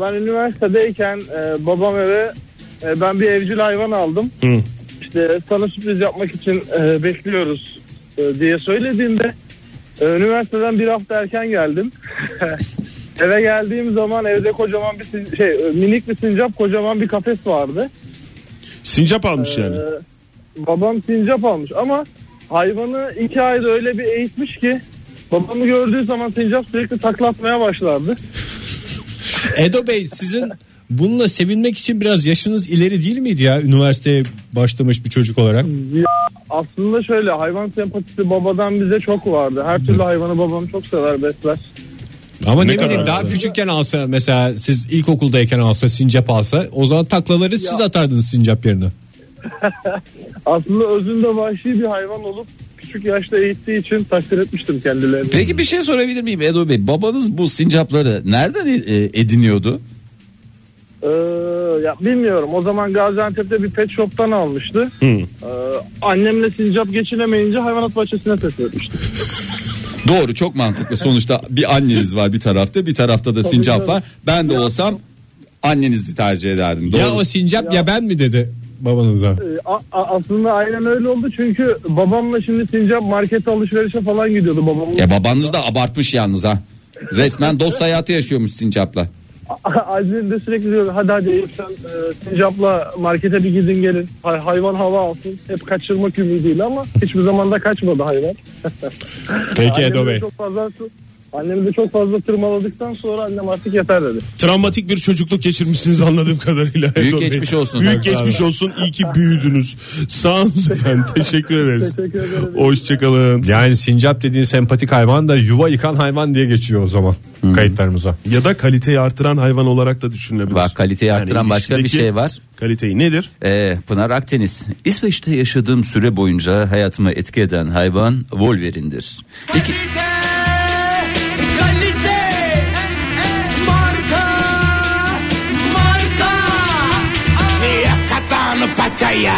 S6: ben üniversitedeyken e, babam eve e, ben bir evcil hayvan aldım.
S3: Hı.
S6: İşte sana sürpriz yapmak için e, bekliyoruz e, diye söylediğimde e, üniversiteden bir hafta erken geldim. eve geldiğim zaman evde kocaman bir sin- şey e, minik bir sincap kocaman bir kafes vardı.
S3: Sincap almış yani.
S6: Ee, babam sincap almış ama hayvanı iki ayda öyle bir eğitmiş ki babamı gördüğü zaman sincap sürekli taklatmaya başlardı.
S1: Edo Bey sizin bununla sevinmek için biraz yaşınız ileri değil miydi ya üniversiteye başlamış bir çocuk olarak?
S6: Ya, aslında şöyle hayvan sempatisi babadan bize çok vardı. Her türlü hayvanı babam çok sever besler.
S1: Ama ne,
S3: Ne
S1: bileyim
S3: kadar
S1: daha
S3: güzel.
S1: küçükken alsa mesela siz ilkokuldayken alsa sincap alsa o zaman taklaları siz atardınız sincap yerine.
S6: Aslında özünde vahşi bir hayvan olup küçük yaşta eğittiği için takdir etmiştim kendilerini.
S2: Peki bir şey sorabilir miyim Edo Bey? Babanız bu sincapları nereden e, ediniyordu?
S6: Ee, ya bilmiyorum o zaman Gaziantep'te bir pet shop'tan almıştı. Ee, annemle sincap geçinemeyince hayvanat bahçesine teslim etmişti.
S2: Doğru çok mantıklı. Sonuçta bir anneniz var bir tarafta bir tarafta da sincap
S6: canım.
S2: var. Ben de olsam annenizi tercih ederdim. Doğru.
S1: Ya o sincap ya, ben mi dedi babanıza.
S6: E, a- a- aslında aynen öyle oldu çünkü babamla şimdi sincap markete alışverişe falan gidiyordu babam.
S2: Ya babanız da abartmış yalnız ha. Resmen dost hayatı yaşıyormuş sincapla.
S6: Azim de sürekli diyor hadi hadi Eyüp sen e, sincapla markete bir gidin gelin Hay- hayvan hava alsın hep kaçırmak ümidiyle ama hiçbir zaman da kaçmadı hayvan.
S1: Peki Edo
S6: Annemi
S1: Bey.
S6: Çok fazla, annemi de çok fazla tırmaladıktan sonra annem artık yeter dedi.
S3: Travmatik bir çocukluk geçirmişsiniz anladığım kadarıyla.
S2: Büyük
S3: Erdoğan Bey.
S2: geçmiş olsun.
S3: Büyük
S2: Tabii,
S3: geçmiş olsun. İyi ki büyüdünüz. Sağ olun efendim. Teşekkür ederiz.
S6: Teşekkür ederim.
S3: Hoşçakalın.
S1: Yani sincap dediğin sempatik hayvan da yuva yıkan hayvan diye geçiyor o zaman kayıtlarımıza.
S3: Hmm. Ya da kaliteyi artıran hayvan olarak da düşünülebilir.
S2: Bak kaliteyi
S3: Yani
S2: arttıran başka bir
S3: ilişkideki
S2: şey var.
S3: Kaliteyi nedir?
S2: Ee, Pınar Akdeniz. İsveç'te yaşadığım süre boyunca hayatıma etki eden hayvan Wolverine'dir. İki,
S4: kalite, marka, marka. Yakatan paçaya.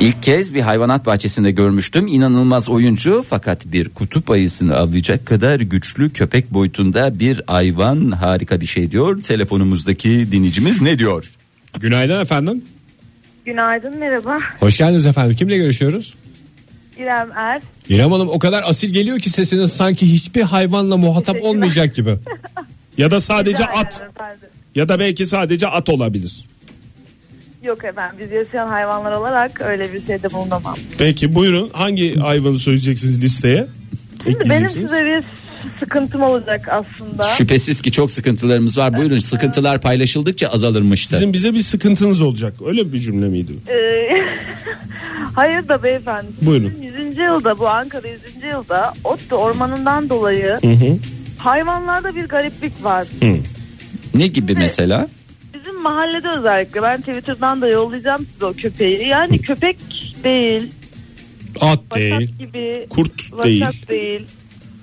S2: ilk kez bir hayvanat bahçesinde görmüştüm. İnanılmaz oyuncu fakat bir kutup ayısını avlayacak kadar güçlü köpek boyutunda bir hayvan harika bir şey diyor. Telefonumuzdaki dinleyicimiz ne diyor?
S1: Günaydın efendim.
S7: Günaydın merhaba.
S1: Hoş geldiniz efendim. Kimle görüşüyoruz?
S7: İrem Er.
S1: İrem Hanım o kadar asil geliyor ki sesiniz sanki hiçbir hayvanla muhatap
S7: Teşekkürler.
S1: olmayacak gibi.
S3: Ya da sadece at.
S7: Günaydın efendim.
S3: Ya da belki sadece at olabilir.
S7: Yok efendim biz yaşayan hayvanlar olarak öyle bir şeyde bulunamam.
S3: Peki buyurun hangi hayvanı söyleyeceksiniz listeye?
S7: Şimdi benim
S3: Ekleyeceksiniz.
S7: size bir sıkıntım olacak aslında.
S2: Şüphesiz ki çok sıkıntılarımız var. Buyurun sıkıntılar paylaşıldıkça azalırmıştı.
S3: Sizin bize bir sıkıntınız olacak. Öyle bir cümle miydi?
S7: Ee, Hayır da beyefendi.
S3: Buyurun.
S7: Bizim 100. yılda bu Ankara 100. yılda Otto ormanından dolayı hayvanlarda bir gariplik var.
S2: Ne gibi mesela?
S7: Bizim mahallede özellikle ben Twitter'dan da yollayacağım size o köpeği. Yani köpek değil,
S1: At
S7: vasat
S1: değil.
S7: gibi,
S3: Kurt
S7: vasat
S3: değil.
S7: değil.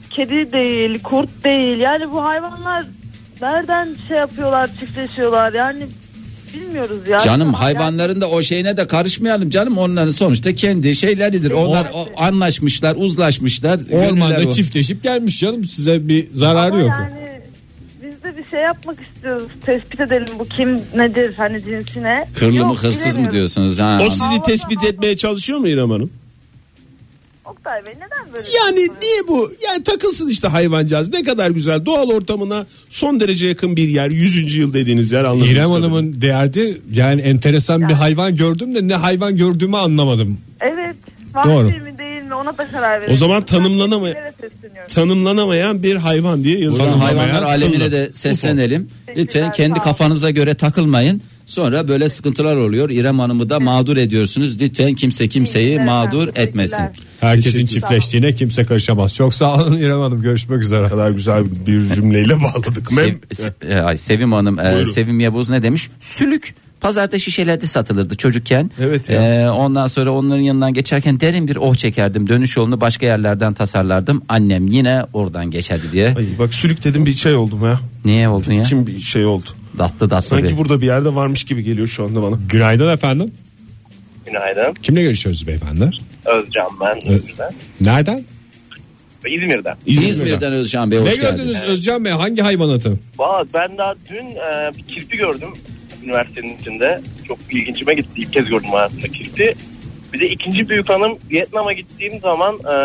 S7: kedi değil, kurt değil. Yani bu hayvanlar nereden şey yapıyorlar, çiftleşiyorlar yani bilmiyoruz ya.
S2: Canım
S7: Ama
S2: hayvanların da o şeyine de karışmayalım canım. Onların sonuçta kendi şeyleridir. Onlar o- anlaşmışlar, uzlaşmışlar. Gönüller
S1: Ormanda
S2: o.
S1: çiftleşip gelmiş canım size bir zararı
S7: yani,
S1: yok.
S7: Yani biz de bir şey yapmak istiyoruz. Tespit edelim bu kim nedir hani cinsine.
S2: Hırlı mı
S7: Yok,
S2: hırsız mı
S7: bilemiyorum.
S2: diyorsunuz? Ha.
S3: O sizi tespit etmeye çalışıyor mu İrem Hanım?
S7: Oktay Bey neden böyle?
S3: Yani
S7: yapıyorsunuz?
S3: niye bu? Yani E, takılsın işte hayvancağız. Ne kadar güzel. Doğal ortamına son derece yakın bir yer. 100. yıl dediğiniz yer anladığınız
S1: İrem
S3: kadarıyla.
S1: Hanım'ın derdi yani enteresan bir hayvan gördüm de ne hayvan gördüğümü anlamadım.
S7: Evet. Vahşi
S1: Doğru.
S7: mi değil mi ona da karar verelim.
S3: O zaman tanımlanamay-
S7: Ben sizlere sesleniyorum.
S3: tanımlanamayan bir hayvan diye
S2: Buradan
S3: yazılıyor.
S2: hayvanlar
S3: Tanımlanamayan
S2: alemine
S3: kıllı.
S2: de seslenelim. Lütfen
S7: Teşekkürler,
S2: kendi
S7: sağ olun.
S2: kafanıza göre takılmayın. Sonra böyle sıkıntılar oluyor. İrem Hanım'ı da mağdur ediyorsunuz. Lütfen kimse kimseyi
S7: Teşekkürler
S2: mağdur
S7: efendim,
S2: etmesin.
S7: teşekkürler.
S1: Herkesin çiftleştiğine kimse karışamaz. Çok sağ olun İrem Hanım görüşmek üzere.
S3: kadar güzel bir cümleyle bağladık.
S2: Sev-
S3: Mem-
S2: Se- e, ay, Sevim Hanım, e,
S3: Buyurun.
S2: Sevim Yavuz ne demiş? Sülük. Pazarda şişelerde satılırdı çocukken.
S3: Evet ya.
S2: E, ondan sonra onların yanından geçerken derin bir oh çekerdim. Dönüş yolunu başka yerlerden tasarlardım. Annem yine oradan geçerdi diye.
S3: Ay bak sülük dedim bir şey oldum ya.
S2: Niye oldun ya?
S3: İçim bir şey oldu.
S2: Datlı datlı
S3: Sanki
S2: bir.
S3: burada bir yerde varmış gibi geliyor şu anda bana.
S1: Günaydın efendim.
S8: Günaydın.
S1: Kimle görüşüyoruz beyefendi?
S6: Özcan ben İzmir'den.
S1: Nereden?
S6: İzmir'den.
S2: İzmir'den Özcan Bey
S1: Ne
S2: hoş
S1: gördünüz
S2: geldiniz.
S1: Özcan Bey? Hangi hayvanatı?
S6: Valla ben daha dün e, bir kirpi gördüm üniversitenin içinde. Çok ilginçime gitti. İlk kez gördüm hayatımda kirpi. Bir de ikinci büyük hanım Vietnam'a gittiğim zaman e,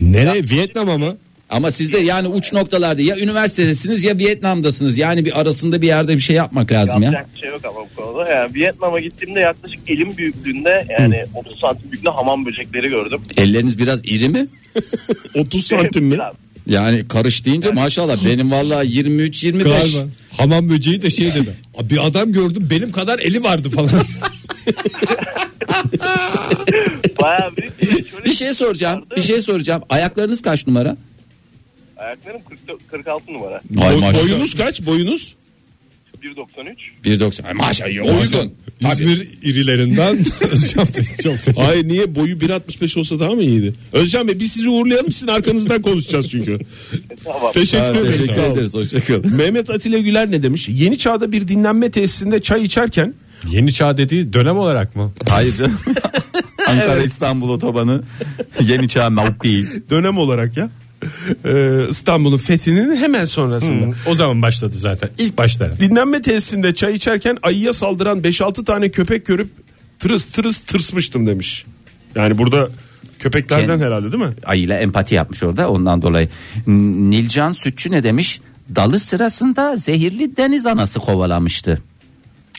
S1: Nereye? Vietnam'a mı?
S2: Ama sizde yani uç noktalarda ya üniversitedesiniz ya Vietnam'dasınız. Yani bir arasında bir yerde bir şey yapmak lazım ya.
S6: yapacak bir şey yok ama bu konuda. Yani Vietnam'a gittiğimde yaklaşık elim büyüklüğünde yani 30 santim büyüklüğünde hamam böcekleri gördüm.
S2: Elleriniz biraz iri mi?
S3: 30 santim mi?
S6: Biraz.
S2: Yani karış deyince maşallah benim vallahi 23 25.
S1: Galiba. Hamam böceği de şey dedi. Bir adam gördüm benim kadar eli vardı falan.
S6: Bayağı bir, şöyle
S2: Bir şey soracağım. Bir şey soracağım. Ayaklarınız kaç numara?
S6: Ayaklarım 40, 46 numara.
S2: Ay
S3: Boy-
S2: maşallah.
S3: boyunuz kaç? Boyunuz?
S6: 1.93.
S2: 1.90. Ay maşallah. Uygun.
S1: İzmir irilerinden Özcan Bey çok teşekkür
S3: Ay niye boyu 1.65 olsa daha mı iyiydi? Özcan Bey biz sizi uğurlayalım sizin arkanızdan konuşacağız çünkü.
S6: Tamam.
S3: Teşekkür
S2: Tabii,
S3: ederim.
S2: teşekkür
S3: sağ olun.
S2: ederiz. Hoşçakalın.
S3: Mehmet Atilla Güler ne demiş? Yeni çağda bir dinlenme tesisinde çay içerken
S1: Yeni çağ dediği dönem olarak mı?
S2: Hayır canım. Ankara İstanbul otobanı yeni çağ mevki.
S3: dönem olarak ya e, İstanbul'un fethinin hemen sonrasında.
S1: O zaman başladı zaten. İlk başta.
S3: Dinlenme tesisinde çay içerken ayıya saldıran 5-6 tane köpek görüp tırıs tırıs tırsmıştım demiş. Yani burada köpeklerden
S2: Kendi-
S3: herhalde değil mi?
S2: Ayıyla empati yapmış orada ondan dolayı. N- Nilcan Sütçü ne demiş? Dalı sırasında zehirli deniz anası kovalamıştı.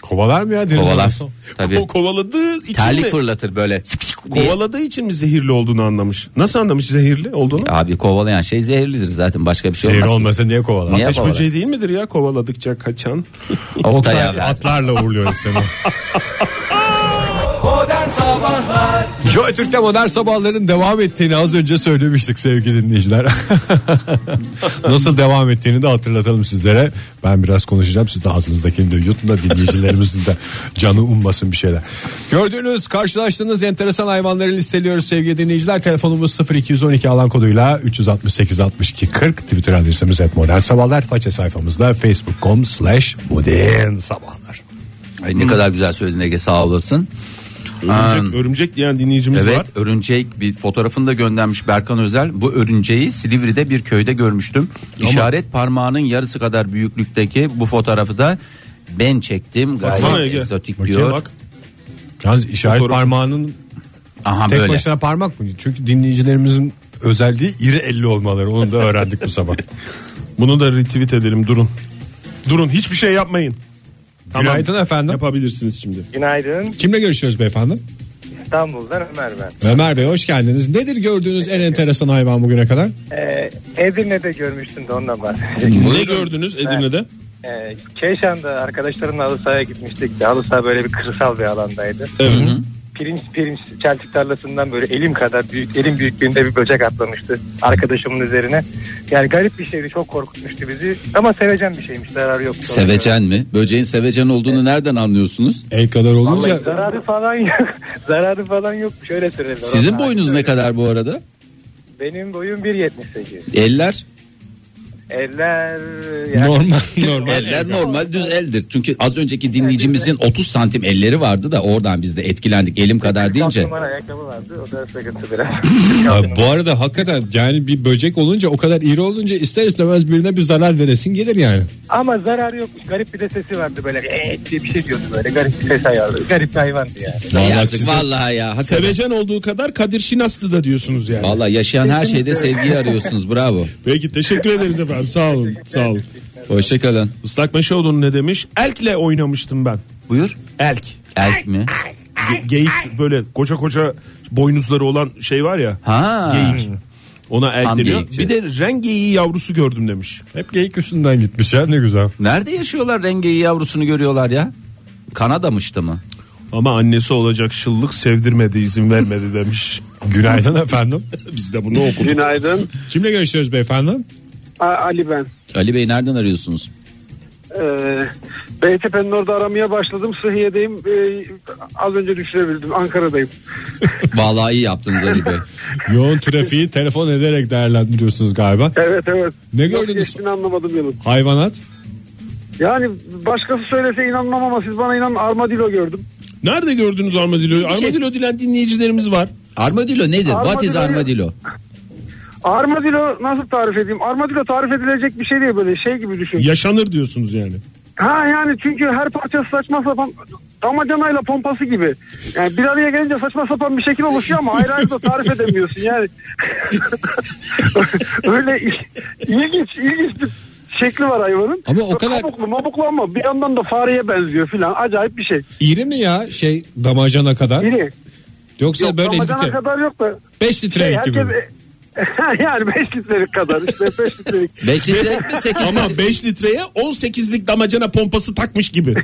S1: Kovalar mı ya? deniz
S2: Kovalar.
S1: anası?
S2: Tabii.
S3: O kovaladığı için mi?
S2: Terlik fırlatır böyle. Sık sık diye.
S3: Kovaladığı için mi zehirli olduğunu anlamış? Nasıl anlamış zehirli olduğunu?
S2: Abi kovalayan şey zehirlidir zaten başka bir şey
S1: Zehir
S2: olmaz. ki.
S1: olmasa niye kovalar?
S2: Niye
S3: Ateş
S2: kovalar?
S3: böceği değil midir ya kovaladıkça kaçan?
S2: Oktay
S1: Oktay,
S2: abi.
S1: atlarla uğurluyoruz seni.
S4: Modern Sabahlar
S1: Joy Türk'te modern sabahların devam ettiğini az önce söylemiştik sevgili dinleyiciler. Nasıl devam ettiğini de hatırlatalım sizlere. Ben biraz konuşacağım siz de ağzınızdakini de yutun da dinleyicilerimizin de canı ummasın bir şeyler. Gördüğünüz karşılaştığınız enteresan hayvanları listeliyoruz sevgili dinleyiciler. Telefonumuz 0212 alan koduyla 368 62 40 Twitter adresimiz et modern sabahlar. Faça sayfamızda facebook.com slash modern sabahlar.
S2: Ay ne kadar güzel söyledin Ege sağ olasın.
S3: Örümcek, örümcek diyen dinleyicimiz
S2: Evet
S3: var.
S2: örümcek bir fotoğrafını da göndermiş Berkan Özel. Bu örümceği Silivri'de bir köyde görmüştüm. İşaret parmağının yarısı kadar büyüklükteki bu fotoğrafı da ben çektim. Gayet
S3: Baksana Ege.
S2: egzotik
S1: Bakayım
S2: diyor.
S3: bak.
S1: Yalnız işaret
S3: Fotoğrafı-
S1: parmağının
S2: Aha
S1: Tek
S2: böyle.
S1: başına parmak mı? Çünkü dinleyicilerimizin özelliği iri elli olmaları. Onu da öğrendik bu sabah.
S3: Bunu da retweet edelim durun. Durun hiçbir şey yapmayın. Tamam.
S1: Günaydın efendim.
S3: Yapabilirsiniz şimdi.
S6: Günaydın.
S1: Kimle görüşüyoruz beyefendi?
S6: İstanbul'dan Ömer ben.
S1: Ömer Bey hoş geldiniz. Nedir gördüğünüz en enteresan hayvan bugüne kadar?
S6: Ee, Edirne'de görmüştüm de ondan bahsedeceğim.
S3: Ne gördünüz Edirne'de?
S6: Ee, Keyşan'da arkadaşlarımla halı sahaya gitmiştik. de Halı saha böyle bir kırsal bir alandaydı.
S3: Evet.
S6: Pirinç pirinç çeltik tarlasından böyle elim kadar büyük, elim büyüklüğünde bir böcek atlamıştı arkadaşımın üzerine. Yani garip bir şeydi çok korkutmuştu bizi. Ama sevecen bir şeymiş zararı yoktu.
S2: Sevecen mi? Böceğin sevecen olduğunu nereden anlıyorsunuz?
S1: El kadar
S6: Vallahi
S1: olunca
S6: zararı falan yok. zararı falan yok. Şöyle söyleyeyim.
S2: Sizin boyunuz ne kadar bu arada?
S6: Benim boyum 1.78.
S2: Eller?
S6: Eller... yani-
S1: normal normal.
S2: Eller normal düz eldir. Çünkü az önceki dinleyicimizin 30 santim elleri vardı da oradan biz de etkilendik. Elim kadar deyince.
S6: numara ayakkabı vardı. O da sıkıntı biraz.
S1: Ha, bu arada hakikaten yani bir böcek olunca o kadar iri olunca ister istemez birine bir zarar veresin gelir yani.
S6: Ama zararı yokmuş. Garip bir de sesi vardı böyle. Eee diye bir şey diyordu böyle. Garip bir ses ayarlı. Garip bir hayvandı yani.
S1: Vallahi
S2: Yazık,
S1: siz de-
S2: vallahi ya. hakikaten.
S3: Sevecen olduğu kadar Kadir Şinaslı da diyorsunuz yani.
S2: Vallahi yaşayan her şeyde sevgiyi arıyorsunuz. Bravo.
S3: Peki teşekkür ederiz efendim. Sağ olun. Sağ olun.
S2: Hoşçakalın.
S3: Islak Meşeoğlu'nun ne demiş? Elkle oynamıştım ben.
S2: Buyur.
S3: Elk.
S2: Elk mi?
S3: Ge- geyik böyle koca koca boynuzları olan şey var ya.
S2: Ha.
S3: Geyik. Ona elk
S2: Tam
S3: deniyor.
S2: geyikçi.
S3: Bir de ren geyiği yavrusu gördüm demiş.
S1: Hep geyik üstünden gitmiş ya ne güzel.
S2: Nerede yaşıyorlar rengeyi yavrusunu görüyorlar ya? Kanadamıştı mı?
S3: Ama annesi olacak şıllık sevdirmedi izin vermedi demiş.
S1: Günaydın efendim.
S3: Biz de bunu okuduk.
S9: Günaydın.
S1: Kimle görüşüyoruz beyefendi?
S9: A- Ali ben.
S2: Ali Bey nereden arıyorsunuz?
S9: Ee, Beytepe'nin orada aramaya başladım. Sıhhiye'deyim. Ee, az önce düşürebildim. Ankara'dayım.
S2: Vallahi iyi yaptınız Ali Bey.
S1: Yoğun trafiği telefon ederek değerlendiriyorsunuz galiba.
S9: Evet evet.
S1: Ne
S9: Nasıl
S1: gördünüz?
S9: geçtiğini anlamadım yılın.
S1: Hayvanat.
S9: Yani başkası söylese inanmam ama siz bana inan armadillo gördüm.
S3: Nerede gördünüz armadilloyu?
S2: şey-
S3: Armadillo dilen dinleyicilerimiz var.
S10: Armadillo nedir? What is
S9: Armadillo-
S10: armadillo?
S9: Armadillo nasıl tarif edeyim? Armadillo tarif edilecek bir şey değil böyle şey gibi düşün.
S3: Yaşanır diyorsunuz yani.
S9: Ha yani çünkü her parçası saçma sapan damacanayla pompası gibi. Yani bir araya gelince saçma sapan bir şekil oluşuyor ama ayrı ayrı da tarif edemiyorsun yani. Öyle il- ilginç ilginç bir şekli var hayvanın.
S1: Ama o kadar-
S9: Kabuklu mabuklu ama bir yandan da fareye benziyor filan acayip bir şey.
S1: İri mi ya şey damacana kadar?
S9: İri.
S1: Yoksa
S9: Yok,
S1: böyle
S9: damacana
S1: litre.
S9: kadar yok da.
S1: 5 litre
S9: Şey,
S1: gibi.
S9: herkes- yani 5 litrelik kadar işte 5 litrelik.
S3: Ama 5 litreye 18'lik damacana pompası takmış gibi.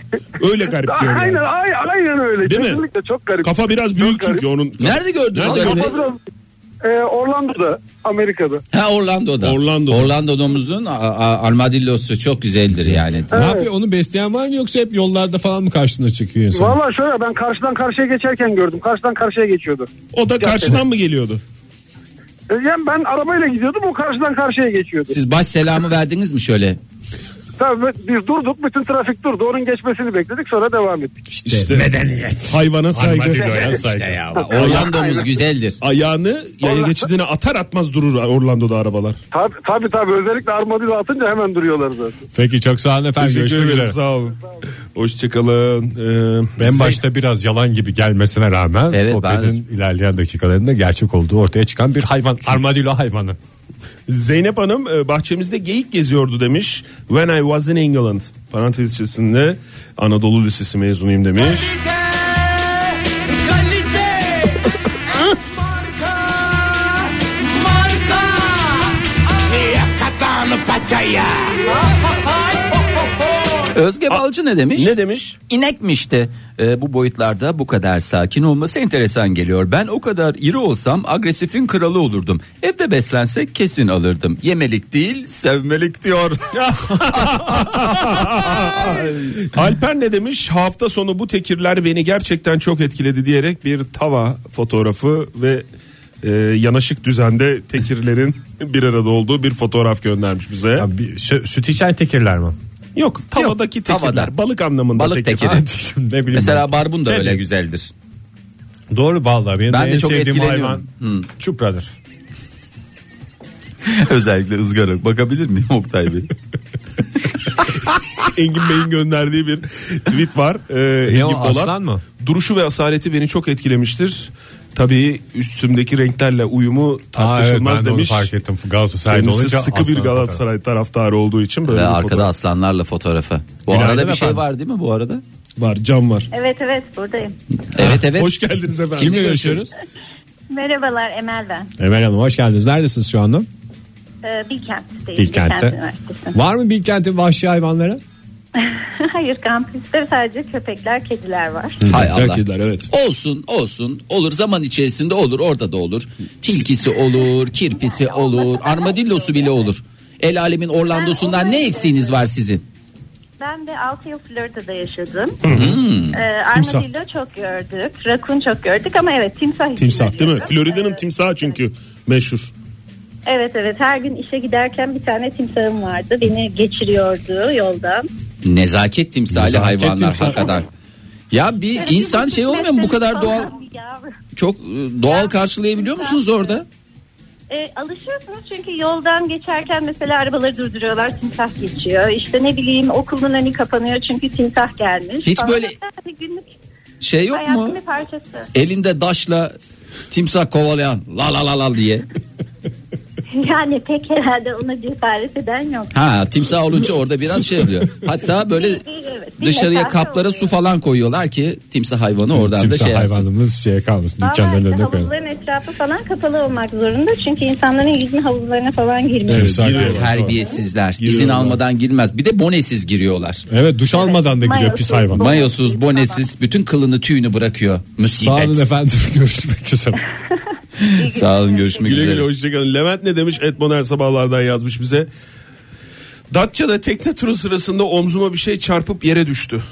S3: Öyle garip diyorum.
S9: Aynen, ay- aynen öyle.
S3: Değil mi?
S9: Kesinlikle çok garip.
S3: Kafa biraz büyük çünkü onun.
S10: Nerede gördünüz
S3: Nerede
S10: öyle
S3: gördünüz?
S10: bir-
S9: Ee, Orlando'da Amerika'da.
S10: Ha Orlando'da. Orlando'da. Orlando'muzun a- a- armadillosu çok güzeldir yani.
S1: Ne yapıyor onu besleyen var mı yoksa hep yollarda falan mı karşına çıkıyor insan?
S9: Valla şöyle ben karşıdan karşıya geçerken gördüm. Karşıdan karşıya geçiyordu.
S3: O da karşıdan mı geliyordu?
S9: E, Yani ben arabayla gidiyordum o karşıdan karşıya geçiyordu.
S10: Siz baş selamı verdiniz mi şöyle?
S9: Tabii biz durduk bütün trafik durdu onun geçmesini bekledik sonra devam ettik.
S3: İşte medeniyet. Hayvana saygı.
S1: Armadillo'ya saygı.
S10: İşte ya, Orlando'muz güzeldir.
S3: Ayağını yaya geçidine atar atmaz durur Orlando'da arabalar.
S9: Tabii tabii, tabii. özellikle armadillo atınca hemen duruyorlar zaten.
S1: Peki çok sağ olun efendim.
S3: Teşekkür
S1: Görüşmek
S3: ederim,
S1: üzere.
S3: Sağ olun. Hoşçakalın. Ee,
S1: En
S3: Zeyn-
S1: başta biraz yalan gibi gelmesine rağmen
S2: Evet,
S1: sohbetin ilerleyen dakikalarında gerçek olduğu ortaya çıkan bir hayvan. Armadillo hayvanı.
S3: Zeynep Hanım e, bahçemizde geyik geziyordu demiş. When I was in England. Parantez içerisinde Anadolu Lisesi mezunuyum demiş.
S2: Özge Balcı ne demiş?
S3: Ne demiş?
S2: İnekmiş de e, bu boyutlarda bu kadar sakin olması enteresan geliyor. Ben o kadar iri olsam agresifin kralı olurdum. Evde beslensek kesin alırdım. Yemelik değil sevmelik diyor.
S3: Alper ne demiş? Hafta sonu bu tekirler beni gerçekten çok etkiledi diyerek bir tava fotoğrafı ve e, yanaşık düzende tekirlerin bir arada olduğu bir fotoğraf göndermiş bize.
S1: Ya bir, sü- süt içen tekirler mi?
S3: Yok tavadaki tekirler
S2: tavada.
S3: balık anlamında
S2: Balık tekiri.
S1: Ha, şimdi ne bileyim
S2: Mesela barbun da
S1: Ne
S2: öyle
S1: bileyim.
S2: güzeldir.
S1: Doğru vallahi benim
S2: Ben
S1: de
S2: de
S1: en
S2: çok
S1: sevdiğim hayvan
S2: etkileniyorum. Hmm.
S1: çupradır.
S2: Özellikle ızgara. Bakabilir miyim Oktay Bey?
S3: Engin Bey'in gönderdiği bir tweet var. Ee,
S1: Ne
S3: Engin
S1: o,
S3: Polat,
S1: aslan mı?
S3: Duruşu ve asaleti beni çok etkilemiştir. Tabii üstümdeki renklerle uyumu
S1: Aa, evet,
S3: tartışılmaz
S1: ben de onu
S3: demiş.
S1: fark ettim Galatasaray'da
S3: Kendisi
S1: olunca.
S3: sıkı bir
S1: aslan
S3: Galatasaray taraftarı olduğu için böyle
S2: Ve
S3: bir
S2: arkada
S3: fotoğraf
S2: aslanlarla fotoğrafı. Bu
S1: Günaydın
S2: arada bir şey
S1: efendim.
S2: var değil mi bu arada?
S3: var. Cam var.
S7: Evet evet buradayım.
S2: Evet evet.
S3: Hoş geldiniz efendim.
S1: Kimle görüşüyoruz?
S7: Merhabalar Emel ben.
S1: Emel Hanım hoş geldiniz. Neredesiniz şu anda?
S7: Ee, Bilkent'teyim. Bilkent
S1: Bilkent'te.
S7: Üniversitesi.
S1: Var mı Bilkent'in vahşi hayvanları?
S7: Hayır kampüste sadece köpekler kediler var.
S2: Hay Allah.
S3: Tekirler, evet.
S2: Olsun olsun olur zaman içerisinde olur orada da olur. Tilkisi olur, kirpisi olur, armadillosu bile olur. El alemin Orlando'sundan ne eksiğiniz var sizin?
S7: Ben de 6 yıl Florida'da yaşadım. Ee, armadillo çok gördük. Rakun çok gördük ama evet timsah. için
S3: Timsah değil mi?
S7: arıyorum.
S3: Florida'nın timsahı çünkü meşhur.
S7: Evet evet her gün işe giderken bir tane timsahım vardı. Beni geçiriyordu yoldan.
S2: Nezaket timsali
S1: Nezaket
S2: hayvanlar
S1: timsali.
S2: hakikaten. Ya bir
S7: Böyle bir
S2: insan
S7: buçuk
S2: şey olmuyor mu bu
S7: metrelik
S2: kadar
S7: falan
S2: doğal
S7: bir yavru.
S2: çok e, doğal karşılayabiliyor musunuz orada?
S7: E, alışıyorsunuz çünkü yoldan geçerken mesela arabaları durduruyorlar timsah geçiyor. İşte ne bileyim okulun önü kapanıyor çünkü timsah gelmiş.
S2: Hiç
S7: falan.
S2: böyle
S7: Hani günlük
S2: Şey yok
S7: hayatın
S2: mu?
S7: bir parçası.
S2: Elinde daşla timsah kovalayan la la la la diye.
S7: Yani pek herhalde ona cesaret eden yok.
S2: Ha timsah olunca orada biraz şey oluyor. Hatta böyle
S7: Evet, bir
S2: dışarıya
S7: mesafe
S2: kaplara su falan koyuyorlar ki timsah hayvanı oradan da
S1: Timsah
S2: şey yapsın.
S1: hayvanımız şeye kalmasın.
S7: Vallahi
S1: Dükkanların
S7: işte
S1: önüne koyalım.
S7: havuzların etrafı falan kapalı olmak zorunda. Çünkü insanların yüzme havuzlarına falan girmiyor.
S1: Evet, giriyor.
S2: Terbiyesizler. İzin
S3: Giriyorlar.
S2: almadan girmez. Bir de bonesiz giriyorlar.
S1: Evet duş almadan da gidiyor
S7: Mayosuz,
S1: pis hayvan.
S7: bo-
S2: Mayosuz, bonesiz, bütün kılını tüyünü bırakıyor.
S1: Sağ olun
S2: Musibet.
S1: efendim görüşmek üzere.
S2: Sağ olun görüşmek
S3: Güle
S2: üzere.
S3: güle hoşçakalın. Levent ne demiş? Edmon her sabahlardan yazmış bize. Datça'da tekne turu sırasında omzuma bir şey çarpıp yere düştü.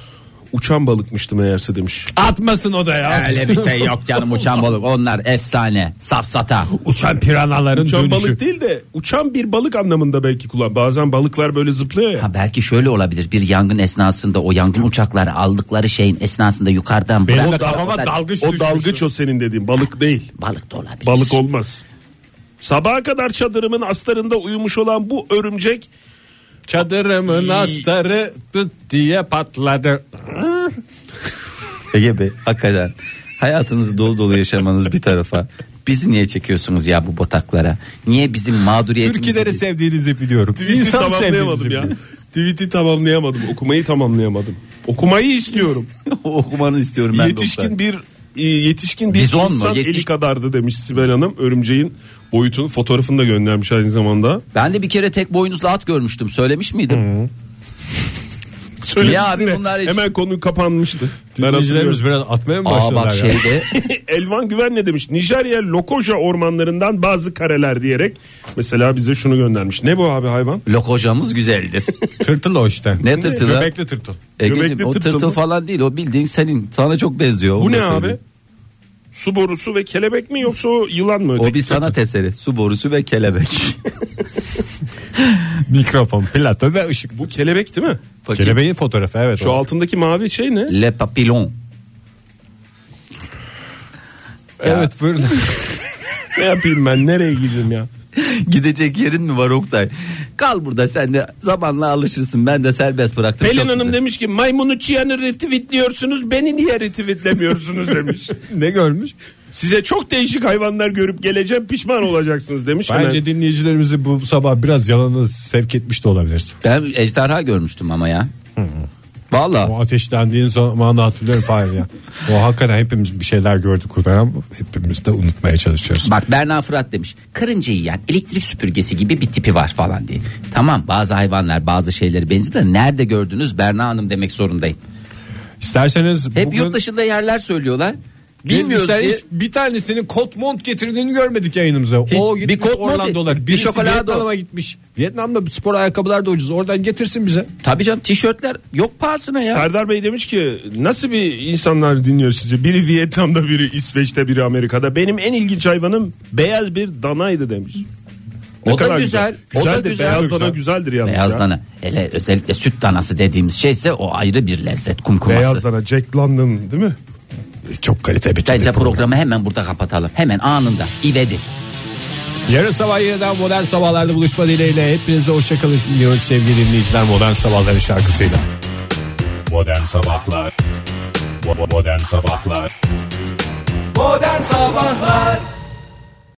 S3: uçan balıkmıştı meğerse demiş.
S1: Atmasın o da ya.
S2: Öyle bir şey yok canım uçan balık onlar efsane safsata.
S1: Uçan piranaların
S3: uçan balık değil de uçan bir balık anlamında belki kullan. Bazen balıklar böyle zıplıyor ya.
S2: Ha belki şöyle olabilir bir yangın esnasında o yangın uçakları aldıkları şeyin esnasında yukarıdan
S3: Benim
S2: bırak-
S3: o dalgıç
S2: Bırak-
S3: o dalgıç o senin dediğin balık değil.
S2: Balık da olabilir.
S3: Balık olmaz. Sabaha kadar çadırımın astarında uyumuş olan bu örümcek
S1: Çadırımın astarı pıt diye patladı.
S2: Ege Bey hakikaten hayatınızı dolu dolu yaşamanız bir tarafa. Bizi niye çekiyorsunuz ya bu bataklara? Niye bizim mağduriyetimizi...
S1: Türküleri sevdiğinizi biliyorum.
S3: Tweet'i
S1: İnsan
S3: tamamlayamadım
S1: sevdiğinizi
S3: ya.
S1: biliyorum.
S3: Tweet'i tamamlayamadım. Okumayı tamamlayamadım. Okumayı istiyorum.
S2: Okumanı istiyorum ben de
S3: yetişkin
S2: Oktay.
S3: bir e, yetişkin bir
S2: Bizon mu?
S3: insan
S2: Yetiş-
S3: eli kadardı demiş Sibel Hanım. Örümceğin boyutunu fotoğrafını da göndermiş aynı zamanda.
S2: Ben de bir kere tek boynuzlu at görmüştüm. Söylemiş miydim?
S3: Hmm, Söylemiştim
S2: Ya abi
S3: de
S2: bunlar hiç-
S3: Hemen konu kapanmıştı.
S1: Dinleyicilerimiz
S3: hatırlıyorum.
S1: biraz atmaya mı
S2: Aa
S1: başladılar
S2: bak şey.
S1: ya?
S2: şeyde
S3: Elvan Güven ne demiş? Nijerya Lokoja ormanlarından bazı kareler diyerek mesela bize şunu göndermiş. Ne bu abi hayvan?
S2: lokocamız güzeldir.
S1: Tırtıl o işte.
S2: Ne tırtılı?
S1: Göbekli tırtıl.
S2: Egeciğim
S3: Göbekli
S2: o
S3: tırtıl
S2: tırtıl
S3: mı?
S2: falan değil o bildiğin senin. Sana çok benziyor. onu
S3: Bu
S2: da
S3: ne
S2: söyleyeyim.
S3: abi? Su borusu ve kelebek mi yoksa o yılan mı?
S2: O
S3: öteki?
S2: bir sanat eseri. Su borusu ve kelebek.
S1: Mikrofon, plato ve ışık.
S3: Bu kelebek değil mi?
S2: Bakayım.
S1: Kelebeğin fotoğrafı evet.
S3: Şu
S1: o.
S3: altındaki mavi şey ne?
S2: Le papillon.
S1: Evet buyurun.
S3: Ne yapayım ben? Nereye gideyim ya?
S2: Gidecek yerin mi var Oktay? Kal burada sen de zamanla alışırsın. Ben de serbest bıraktım.
S3: Pelin
S2: Çok
S3: Hanım
S2: güzel.
S3: demiş ki maymunu çiyanı retweetliyorsunuz beni niye retweetlemiyorsunuz demiş.
S1: ne görmüş?
S3: Size çok değişik hayvanlar görüp geleceğim pişman olacaksınız demiş.
S1: Bence
S3: Hemen
S1: dinleyicilerimizi bu sabah biraz yalanı sevk etmiş de olabiliriz.
S2: Ben ejderha görmüştüm ama ya. Valla
S1: O ateşlendiğin zamanı hatırlıyorum Fahir ya. O hakikaten hepimiz bir şeyler gördük o dönem. Hepimiz de unutmaya çalışıyoruz.
S2: bak Berna Fırat demiş. Karınca yiyen elektrik süpürgesi gibi bir tipi var falan diye. Tamam bazı hayvanlar bazı şeyleri benziyor da nerede gördünüz Berna Hanım demek zorundayım.
S1: İsterseniz
S2: Hep
S1: bugün-
S2: yurt dışında yerler söylüyorlar. Bilmiyoruz
S1: Gezmişler
S2: diye.
S1: hiç bir tanesinin kot mont getirdiğini görmedik yayınımıza.
S2: Hiç.
S1: o
S2: Bir
S1: gitmiş
S2: kot mont,
S1: Orlando'lar.
S2: bir
S1: Birisi
S2: şokolado.
S1: Vietnam'a gitmiş. Vietnam'da spor ayakkabılar da ucuz. Oradan getirsin bize.
S2: Tabii canım tişörtler yok pahasına ya.
S3: Serdar Bey demiş ki nasıl bir insanlar dinliyor sizi? Biri Vietnam'da biri İsveç'te biri Amerika'da. Benim en ilginç hayvanım beyaz bir danaydı demiş. Ne
S2: O da
S3: kadar
S2: güzel, o da
S3: Güzel de
S2: güzel.
S3: beyaz dana
S2: Güzel.
S3: güzeldir yalnız
S2: Beyaz
S3: ya.
S2: dana. Hele özellikle süt danası dediğimiz şeyse o ayrı bir lezzet kumkuması.
S3: Beyaz dana Jack London değil mi?
S1: Çok kalite bir
S2: Bence programı hemen burada kapatalım. Hemen anında. İvedi.
S1: Yarın sabah yeniden modern sabahlarda buluşma dileğiyle hepinize hoşçakalın diyoruz sevgili dinleyiciler modern sabahların şarkısıyla.
S11: Modern Sabahlar Bo- Modern Sabahlar
S4: Modern Sabahlar